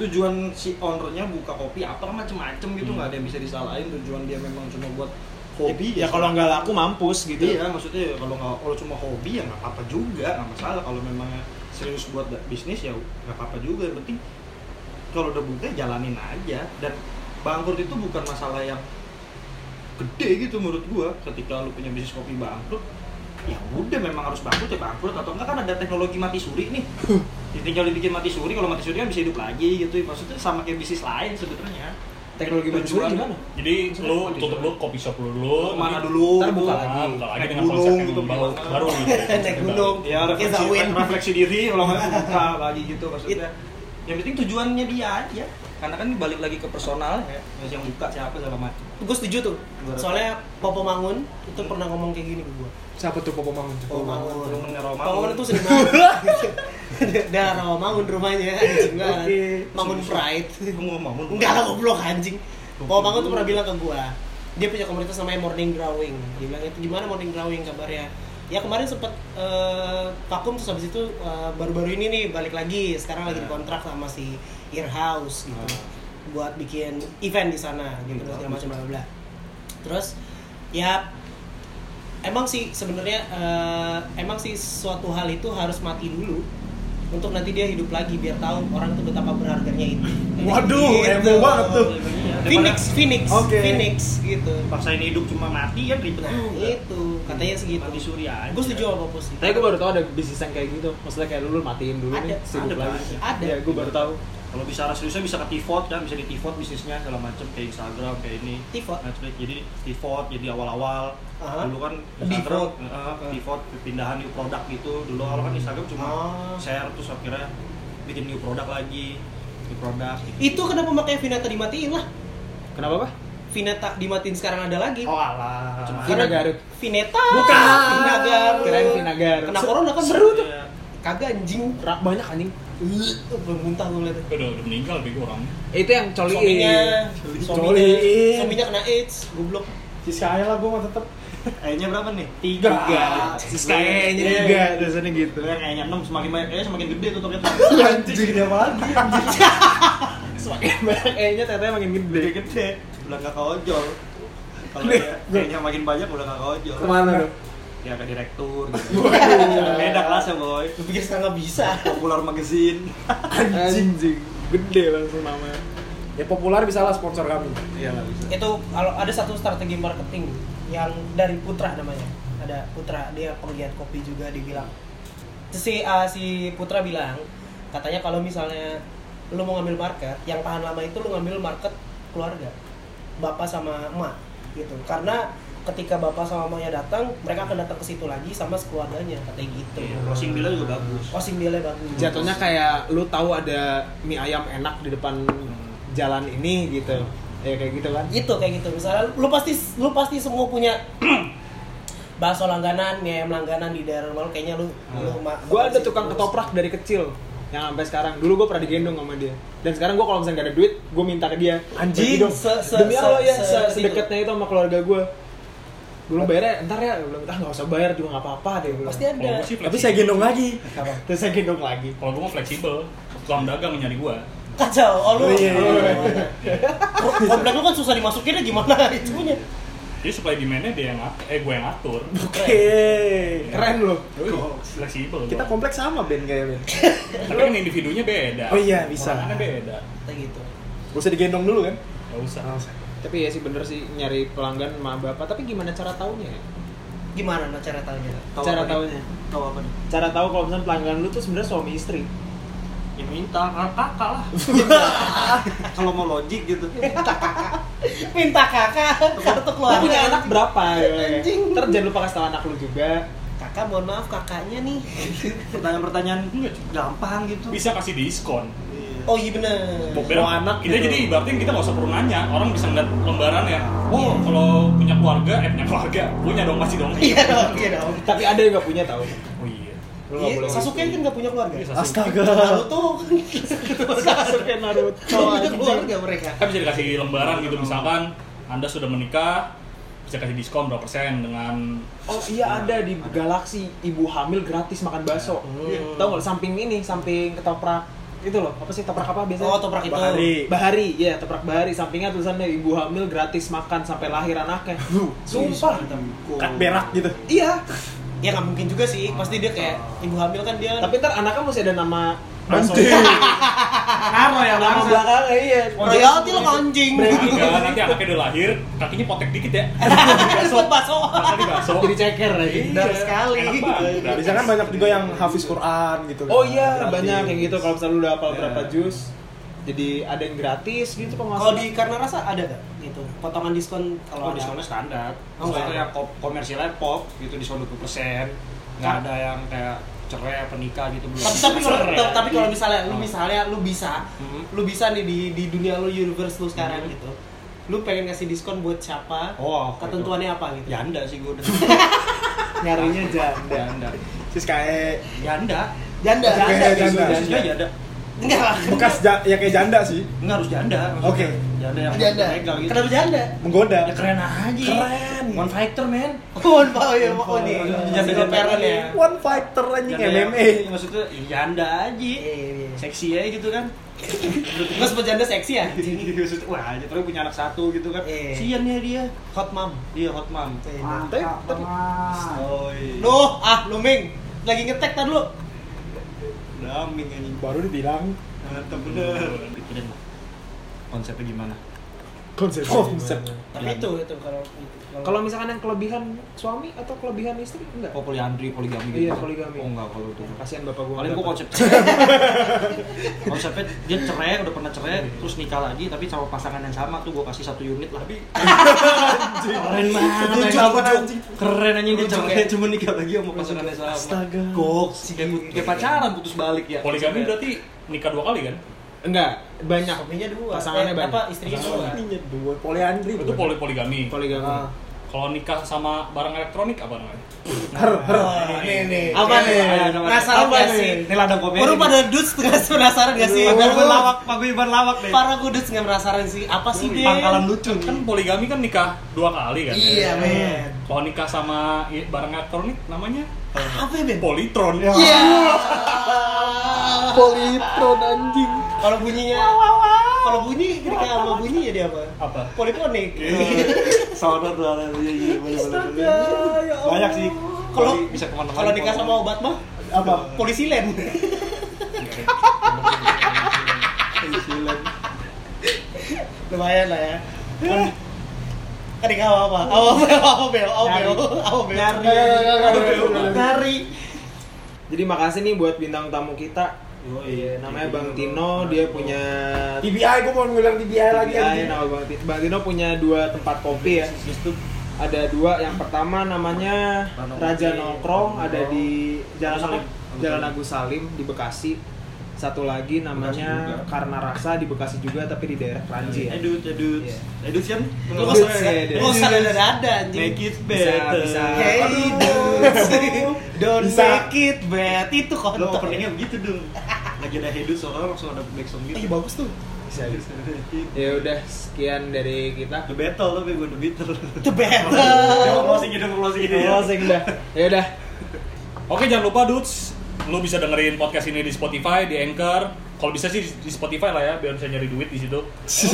Speaker 6: tujuan si ownernya buka kopi apa macem-macem gitu nggak ada yang bisa disalahin tujuan dia memang cuma buat hobi
Speaker 5: Ya kalau nggak laku mampus gitu.
Speaker 6: iya maksudnya ya kalau nggak kalau cuma hobi ya nggak apa-apa juga nggak masalah kalau memang serius buat da- bisnis ya nggak apa-apa juga yang penting kalau udah buka jalanin aja dan bangkrut itu bukan masalah yang gede gitu menurut gua ketika lu punya bisnis kopi bangkrut ya udah memang harus bangkrut ya bangkrut atau enggak kan ada teknologi mati suri
Speaker 5: <laughs>
Speaker 6: nih Ya, tinggal dibikin mati suri kalau mati suri kan bisa hidup lagi gitu maksudnya sama kayak bisnis lain sebenarnya
Speaker 5: Teknologi mancur
Speaker 6: Tujuan.
Speaker 5: gimana? Oh,
Speaker 1: Jadi lu tutup lu kopi shop lu dulu,
Speaker 6: mana
Speaker 1: nanti
Speaker 6: dulu
Speaker 5: Ntar
Speaker 6: gitu.
Speaker 5: buka
Speaker 1: Nah,
Speaker 5: lagi.
Speaker 1: buka lagi
Speaker 6: Naik
Speaker 1: dengan
Speaker 6: gunung
Speaker 1: konsep yang
Speaker 6: gitu,
Speaker 1: baru,
Speaker 6: gimana?
Speaker 1: baru gitu.
Speaker 4: Naik gunung.
Speaker 6: ya
Speaker 4: Kita
Speaker 6: refleksi,
Speaker 4: win.
Speaker 6: refleksi diri kalau nggak buka lagi gitu maksudnya yang penting tujuannya dia aja karena kan balik lagi ke personal ya yang buka siapa segala macam
Speaker 4: gue setuju tuh
Speaker 6: Gua-
Speaker 4: soalnya Popo Mangun itu pernah ngomong kayak gini ke gue
Speaker 2: Siapa tuh Popo Mangun?
Speaker 4: Popo Mangun
Speaker 6: Temennya Romangun.
Speaker 4: Popo Mangun itu sering banget
Speaker 2: <laughs>
Speaker 4: <laughs> Dah Rawa Mangun rumahnya anjing banget
Speaker 6: Oke.
Speaker 4: Mangun Pride
Speaker 6: Gua mau ngomong
Speaker 4: Enggak lah goblok anjing Popo Mangun tuh pernah bilang ke gue dia punya komunitas namanya Morning Drawing dia bilang itu gimana Morning Drawing kabarnya ya kemarin sempet eh, vakum terus habis itu eh, baru-baru ini nih balik lagi sekarang lagi dikontrak sama si Earhouse gitu buat bikin event di sana gitu
Speaker 6: Hmm,
Speaker 4: terus segala macam bla bla bla. Terus ya emang sih sebenarnya eh, emang sih suatu hal itu harus mati dulu untuk nanti dia hidup lagi biar tahu orang itu betapa berharganya itu.
Speaker 2: Waduh,
Speaker 4: Gitu.
Speaker 2: heboh banget tuh.
Speaker 4: Phoenix, Phoenix,
Speaker 2: Oke.
Speaker 4: Phoenix gitu.
Speaker 6: Iya, paksain hidup cuma mati kan ribet
Speaker 4: Nah,
Speaker 6: juga
Speaker 4: itu katanya segitu.
Speaker 6: mati suri aja
Speaker 4: Gue setuju sama Popos sih.
Speaker 5: Tapi gue baru tau ada bisnis yang kayak gitu. Maksudnya kayak lu, lu matiin dulu
Speaker 4: Ada,
Speaker 5: nih,
Speaker 6: ada,
Speaker 5: sibuk lagi.
Speaker 4: Pak. Ada.
Speaker 5: Iya, gue baru tau.
Speaker 6: kalau bicara seriusnya bisa ke tifot kan bisa di tifot bisnisnya segala macam kayak Instagram kayak ini
Speaker 4: Tifot?
Speaker 6: Netflix jadi tifot jadi awal-awal
Speaker 4: Aha.
Speaker 6: dulu kan
Speaker 4: Tifot.
Speaker 6: Instagram eh, tifot pindahan new produk gitu dulu awal kan Instagram cuma
Speaker 4: Ah.
Speaker 6: share terus akhirnya bikin new produk lagi new produk gitu.
Speaker 4: Itu kenapa makanya Vinata dimatiin lah.
Speaker 5: Kenapa, Pak?
Speaker 4: Vinata dimatiin sekarang ada lagi.
Speaker 6: oh alah cuma
Speaker 5: Vina
Speaker 4: Karena-
Speaker 5: Garut.
Speaker 4: Vineta.
Speaker 5: Bukan.
Speaker 4: Vina Garut.
Speaker 5: Kirain Vina Garut.
Speaker 4: Kena corona kan seru tuh.
Speaker 6: Iya.
Speaker 4: Kagak anjing.
Speaker 5: Ra- banyak anjing.
Speaker 4: Ih, tuh, Belum muntah gue liatnya.
Speaker 1: Udah, udah meninggal bego orang.
Speaker 5: Itu yang coli.
Speaker 4: Suaminya,
Speaker 5: Iya.
Speaker 4: suaminya,
Speaker 2: Coliin.
Speaker 4: suaminya kena AIDS, goblok.
Speaker 2: Si Sky lah gue mah tetep
Speaker 6: kayaknya berapa nih
Speaker 2: tiga.
Speaker 6: Iya.
Speaker 5: Kayaknya juga, dasarnya gitu.
Speaker 6: Yang Iya, kayaknya enam semakin banyak kayaknya semakin gede tuh topiknya
Speaker 2: Anjing dia lagi.
Speaker 5: Semakin banyak <laughs> kayaknya ternyata makin gede.
Speaker 6: gede gede udah nggak ojol kalau ya, kayaknya makin banyak udah nggak ojol
Speaker 2: Kemana lu?
Speaker 6: ya ke direktur gitu. beda kelas ya boy
Speaker 4: Lu pikir sekarang nggak bisa?
Speaker 6: popular magazine
Speaker 2: Anjing.
Speaker 5: Anjing. Gede langsung namanya.
Speaker 2: Ya populer bisa lah sponsor kami.
Speaker 6: iya nggak bisa
Speaker 4: Itu kalau ada satu strategi marketing yang dari Putra namanya. Ada Putra, dia penggiat kopi juga dibilang. Terus Si ah, si Putra bilang, katanya kalau misalnya lu mau ngambil market, yang tahan lama itu lu ngambil market keluarga. Bapak sama emak gitu. Karena ketika bapak sama emaknya datang, mereka akan datang ke situ lagi sama sekeluarganya, katanya gitu.
Speaker 6: Iya, closing deal juga bagus
Speaker 4: Closing deal-nya bagus.
Speaker 5: Jatuhnya kayak lu tahu ada mie ayam enak di depan jalan ini gitu. Ya kayak gitu kan.
Speaker 4: itu kayak gitu misalnya lu pasti lu pasti semua punya <clears throat> bakso langganan mie ayam langganan di daerah rumah lu kayaknya lu, lu ma- makan
Speaker 5: Gue Hmm. ada
Speaker 4: situ
Speaker 5: tukang
Speaker 4: terus.
Speaker 5: ketoprak dari kecil yang sampai sekarang. Dulu gue pernah digendong sama dia. Dan sekarang gue kalau misalnya gak ada duit, gue minta ke dia.
Speaker 2: Anjing,
Speaker 5: "Bagi dong."
Speaker 4: se- se-
Speaker 5: Demi
Speaker 4: se-
Speaker 5: Allah ya,
Speaker 4: se-
Speaker 5: se-
Speaker 4: itu.
Speaker 5: sedekatnya itu sama keluarga gue. Belum bayarnya, ntar ya. Gue bilang, ah gak usah bayar juga gak apa-apa deh. Gua bilang.
Speaker 4: pasti ada
Speaker 1: Kalau gue Oh, sih
Speaker 2: Tapi
Speaker 1: fleksibel.
Speaker 2: saya gendong lagi.
Speaker 5: Terus saya gendong lagi.
Speaker 1: Kalau gue mah fleksibel. Tukang dagang nyari gue.
Speaker 4: kacau oh lu
Speaker 2: Oh, iya, iya, iya.
Speaker 4: Kom- komplek lu kan susah dimasukinnya gimana <laughs> itunya
Speaker 1: Jadi supply demand-nya dia yang ngatur, eh gue yang ngatur.
Speaker 2: Oke.
Speaker 5: Keren loh.
Speaker 1: Yoi, fleksibel.
Speaker 2: Kita
Speaker 1: gua.
Speaker 2: kompleks sama Ben kayaknya. Ben.
Speaker 1: Tapi kan individunya beda.
Speaker 2: Oh iya, bisa.
Speaker 1: Orangnya beda.
Speaker 4: kayak gitu
Speaker 2: Gak usah digendong dulu kan?
Speaker 1: Gak usah.
Speaker 5: Tapi ya sih bener sih nyari pelanggan sama bapak. Tapi gimana cara taunya ya?
Speaker 4: gimana nah cara tahunya
Speaker 6: Tahu
Speaker 5: Cara
Speaker 6: apa
Speaker 5: taunya.
Speaker 6: nih? tahu apa nih
Speaker 5: gitu. Cara tahu kalau misalnya pelanggan lu tuh sebenarnya suami istri.
Speaker 6: ya minta karena kakak lah kalau mau logik gitu
Speaker 4: minta kakak kartu
Speaker 5: Lu punya
Speaker 4: keluarga
Speaker 5: anak berapa? Ya?
Speaker 4: Anjing.
Speaker 5: Ntar jangan lupa kasih tau anak lu juga.
Speaker 4: kakak mohon maaf kakaknya nih
Speaker 6: pertanyaan-pertanyaan
Speaker 1: Enggak, cuy.
Speaker 6: gampang gitu
Speaker 4: Iya.
Speaker 1: Bisa kasih diskon.
Speaker 4: oh iya bener
Speaker 1: Bober.
Speaker 2: Mau anak
Speaker 1: kita
Speaker 2: gitu.
Speaker 1: jadi ibaratnya kita nggak usah perlu nanya. Orang bisa ngeliat lembaran ya.
Speaker 2: Oh.
Speaker 1: Wow, kalau punya keluarga, eh punya keluarga, punya dong masih dong.
Speaker 4: iya dong iya dong
Speaker 5: Tapi ada yang gak punya tau.
Speaker 1: Oh iya.
Speaker 5: Lu gak
Speaker 4: Iya,
Speaker 5: boleh
Speaker 4: Sasuke
Speaker 5: gitu.
Speaker 4: kan gak punya keluarga
Speaker 1: Iya, Sasuke.
Speaker 2: Astaga.
Speaker 4: Naruto
Speaker 5: Sasuke Naruto.
Speaker 4: Gak punya keluarga mereka
Speaker 1: Kan bisa dikasih lembaran gitu misalkan Anda sudah menikah bisa kasih diskon berapa persen dengan
Speaker 5: Oh iya ada di Galaxy ibu hamil gratis makan bakso.
Speaker 4: Hmm.
Speaker 5: Tahu nggak samping ini samping ketoprak itu loloh apa sih toprak apa biasanya?
Speaker 4: Oh, toprak itu.
Speaker 2: Bahari.
Speaker 5: Bahari, ya toprak bahari. Sampingnya tulisannya ibu hamil gratis makan sampai lahir anaknya. Sumpah.
Speaker 2: Kat berak gitu.
Speaker 5: Iya.
Speaker 4: Ya nggak mungkin juga sih, pasti dia kayak ibu hamil kan dia
Speaker 5: Iya. Tapi ntar anaknya mesti ada nama
Speaker 2: Anjing.
Speaker 6: naro ya
Speaker 5: Nama belakangnya iya.
Speaker 4: royalti lo anjing. Iya. <laughs>
Speaker 1: Enggak, nanti anaknya udah lahir, kakinya potek dikit ya.
Speaker 4: Disebut bakso.
Speaker 1: Makan di bakso.
Speaker 5: Jadi ceker aja.
Speaker 1: Iya,
Speaker 4: Benar sekali.
Speaker 1: enak banget.
Speaker 2: Bisa kan banyak juga yang hafiz Quran gitu.
Speaker 5: Oh iya
Speaker 2: Gratis.
Speaker 5: banyak kayak gitu kalau misalnya lu udah hafal
Speaker 6: Iya.
Speaker 5: berapa juz jadi ada yang gratis gitu kalau nggak
Speaker 4: Kalau
Speaker 5: salah.
Speaker 4: di karena rasa ada nggak gitu potongan diskon
Speaker 6: kalau iya.
Speaker 4: kalau ada.
Speaker 6: diskonnya standar
Speaker 4: Oh,
Speaker 6: Soalnya
Speaker 4: standar.
Speaker 6: yang pop- komersialnya pop gitu diskon 20% nggak
Speaker 4: Kak.
Speaker 6: ada yang kayak cerai apa nikah gitu belum
Speaker 4: tapi tapi kalau
Speaker 6: Cerai.
Speaker 4: tapi- tapi kalau misalnya lu
Speaker 6: Oh.
Speaker 4: misalnya lu bisa
Speaker 6: Hmm.
Speaker 4: lu bisa nih di di dunia lu universe lu sekarang
Speaker 6: Hmm.
Speaker 4: gitu lu pengen kasih diskon buat siapa
Speaker 6: Oh, oke.
Speaker 4: ketentuannya apa gitu
Speaker 6: janda sih gue udah
Speaker 4: <laughs> nyarinya janda
Speaker 6: janda
Speaker 2: Sis kayak
Speaker 6: janda
Speaker 4: janda
Speaker 2: Oke,
Speaker 4: janda
Speaker 2: janda.
Speaker 4: janda,
Speaker 6: Maksudnya janda
Speaker 4: enggak lah
Speaker 2: bekas ja- ya kayak janda sih,
Speaker 6: enggak harus janda maksudnya.
Speaker 2: Oke.
Speaker 6: janda yang
Speaker 4: janda Kan
Speaker 6: megang gitu
Speaker 4: kenapa janda <laughs>
Speaker 2: menggoda.
Speaker 5: kan,
Speaker 6: ya keren aja
Speaker 5: gitu.
Speaker 2: Keren.
Speaker 6: one fighter man
Speaker 4: Oh, oh ya, oh nih,
Speaker 6: Janda-
Speaker 4: janda parent ya.
Speaker 2: One fighter anjing
Speaker 6: yang-
Speaker 2: MMA.
Speaker 6: maksudnya ya janda aja
Speaker 4: Iya.
Speaker 6: seksi aja gitu kan
Speaker 4: Mas berjanda seksi ya?
Speaker 6: Maksudnya, wah aja terus punya anak satu gitu kan
Speaker 4: Iya.
Speaker 6: sian ya dia
Speaker 4: Hot mom.
Speaker 6: iya hot mom
Speaker 4: Tapi, tapi-
Speaker 6: oh iya
Speaker 4: Loh, ah, lu Ming. Lagi ngetek tadi lu.
Speaker 6: daming anjing
Speaker 2: Baru dibilang
Speaker 6: mantep bener pikirin lah, konsepnya gimana
Speaker 2: konsep. Konsep.
Speaker 4: Tapi itu itu kalau
Speaker 5: Kalau misalkan yang kelebihan suami atau kelebihan istri enggak?
Speaker 6: kok poliandri poligami gitu
Speaker 5: Iya, poligami.
Speaker 6: oh enggak kalau itu
Speaker 5: Kasihan bapak gua.
Speaker 6: paling
Speaker 5: nggak
Speaker 6: gue
Speaker 5: dapat.
Speaker 6: <laughs> konsep konsepnya dia cerai udah pernah cerai terus nikah lagi tapi sama pasangan yang sama tuh gue kasih satu unit lah <laughs> keren banget
Speaker 2: Rujuk,
Speaker 6: anjing.
Speaker 2: anjing.
Speaker 6: keren anjing dia
Speaker 4: Rujuk,
Speaker 6: cerai
Speaker 4: ya.
Speaker 6: cuma nikah lagi sama pasangan yang sama
Speaker 2: Astaga.
Speaker 6: gok sih kayak kayak pacaran putus balik ya
Speaker 1: Poligami berarti nikah dua kali kan?
Speaker 5: Enggak, banyak.
Speaker 4: suaminya dua.
Speaker 5: Pasangannya
Speaker 4: eh,
Speaker 5: banyak.
Speaker 4: apa istrinya dua?
Speaker 2: Ininya dua
Speaker 6: Iya,
Speaker 2: poliandri.
Speaker 1: Itu poli poligami.
Speaker 5: Poligami.
Speaker 1: Kalau nikah sama barang elektronik apa namanya? Ah,
Speaker 4: Oh, nih nih.
Speaker 6: Apa
Speaker 4: Apa
Speaker 6: nih?
Speaker 4: nih? Penasaran
Speaker 6: Apa
Speaker 4: gak
Speaker 6: nih?
Speaker 4: sih?
Speaker 6: Ini ladang kopi.
Speaker 4: Baru pada dudes nggak sih penasaran gak sih?
Speaker 6: Paguyuban lawak, paguyuban lawak deh.
Speaker 4: Para gue dudes nggak penasaran sih. Apa sih dia?
Speaker 6: Pangkalan lucu nih.
Speaker 1: Kan poligami kan nikah dua kali kan?
Speaker 4: Iya, men.
Speaker 1: Kalau nikah sama i- barang elektronik namanya
Speaker 4: Apa ya, Ben?
Speaker 1: politron.
Speaker 4: Iya.
Speaker 2: Politron anjing.
Speaker 4: Kalau bunyinya kalau bunyi kira-kira apa bunyi ya dia apa?
Speaker 1: Apa?
Speaker 4: Poliponik.
Speaker 6: Iya, Sonor doang iya iya bener bener, bener.
Speaker 4: Astaga, ya Allah.
Speaker 6: Banyak sih.
Speaker 4: Kalau
Speaker 6: Poli- bisa kemana-mana.
Speaker 4: Kalau nikah sama obat mah
Speaker 2: Apa?
Speaker 4: polisi lain.
Speaker 6: Isilan.
Speaker 4: Lumayan lah ya. Kan nikah sama apa? Apa bel? Apa bel? Apa bel? Apa bel? Nyari.
Speaker 5: Jadi makasih nih buat bintang tamu kita.
Speaker 6: Oh iya,
Speaker 5: Namanya Bang Tino, dia punya
Speaker 2: TBI gua mau bilang TBI
Speaker 5: Iya,
Speaker 2: lagi anjing.
Speaker 5: nama Bang Tino. Bang Tino punya dua tempat kopi ya.
Speaker 6: Justru
Speaker 5: Ada dua, yang pertama namanya Raja Nongkrong ada di Jalan
Speaker 6: Agus Salim.
Speaker 5: apa? Jalan Agus Salim di Bekasi. Satu lagi namanya
Speaker 6: Bekasi juga. Eh,
Speaker 5: Karena Rasa di Bekasi juga tapi di daerah Kranji ya.
Speaker 6: Edut, edut,
Speaker 5: Iya.
Speaker 6: edut kan?
Speaker 4: Lu
Speaker 5: Dudes,
Speaker 4: usah
Speaker 5: ya, dudes.
Speaker 4: lu usah ada ada anjing.
Speaker 6: Make it
Speaker 5: Bisa,
Speaker 6: better.
Speaker 5: bisa.
Speaker 4: Hey
Speaker 6: Aduh.
Speaker 4: dudes, don't
Speaker 2: Bisa.
Speaker 4: make it bad itu
Speaker 6: Lo
Speaker 4: konten.
Speaker 6: openingnya begitu dong. Lagi ada hedut soalnya langsung ada black song
Speaker 4: Ih
Speaker 6: gitu.
Speaker 4: bagus tuh.
Speaker 5: Ya udah sekian dari kita.
Speaker 6: The battle tapi gue the battle.
Speaker 4: The battle.
Speaker 6: Jangan closing gitu, closing gitu.
Speaker 5: Closing dah. Ya udah.
Speaker 1: Oke jangan lupa dudes, lu bisa dengerin podcast ini di Spotify, di Anchor. Kalau bisa sih di Spotify lah ya, biar bisa nyari duit di situ.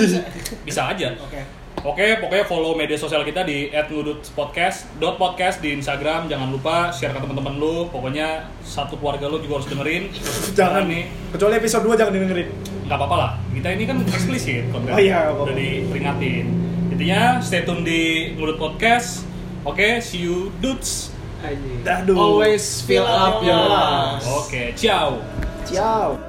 Speaker 2: <laughs>
Speaker 1: Bisa aja.
Speaker 4: Oke.
Speaker 1: Oke, pokoknya follow media sosial kita di @ngudutpodcast, podcast di Instagram. Jangan lupa share ke teman-teman lu. Pokoknya satu keluarga lu juga harus dengerin.
Speaker 2: <laughs> Jangan nih. Kecuali episode 2 jangan dengerin.
Speaker 1: nggak apa-apa lah. Kita ini kan eksplisit konten.
Speaker 2: Oh iya, nggak apa-apa.
Speaker 1: udah diperingatin. Intinya stay tune di Ngudut Podcast. Oke, see you dudes.
Speaker 5: Anjing.
Speaker 2: Dadah.
Speaker 5: Always fill up your lungs.
Speaker 1: Oke, ciao.
Speaker 2: Ciao.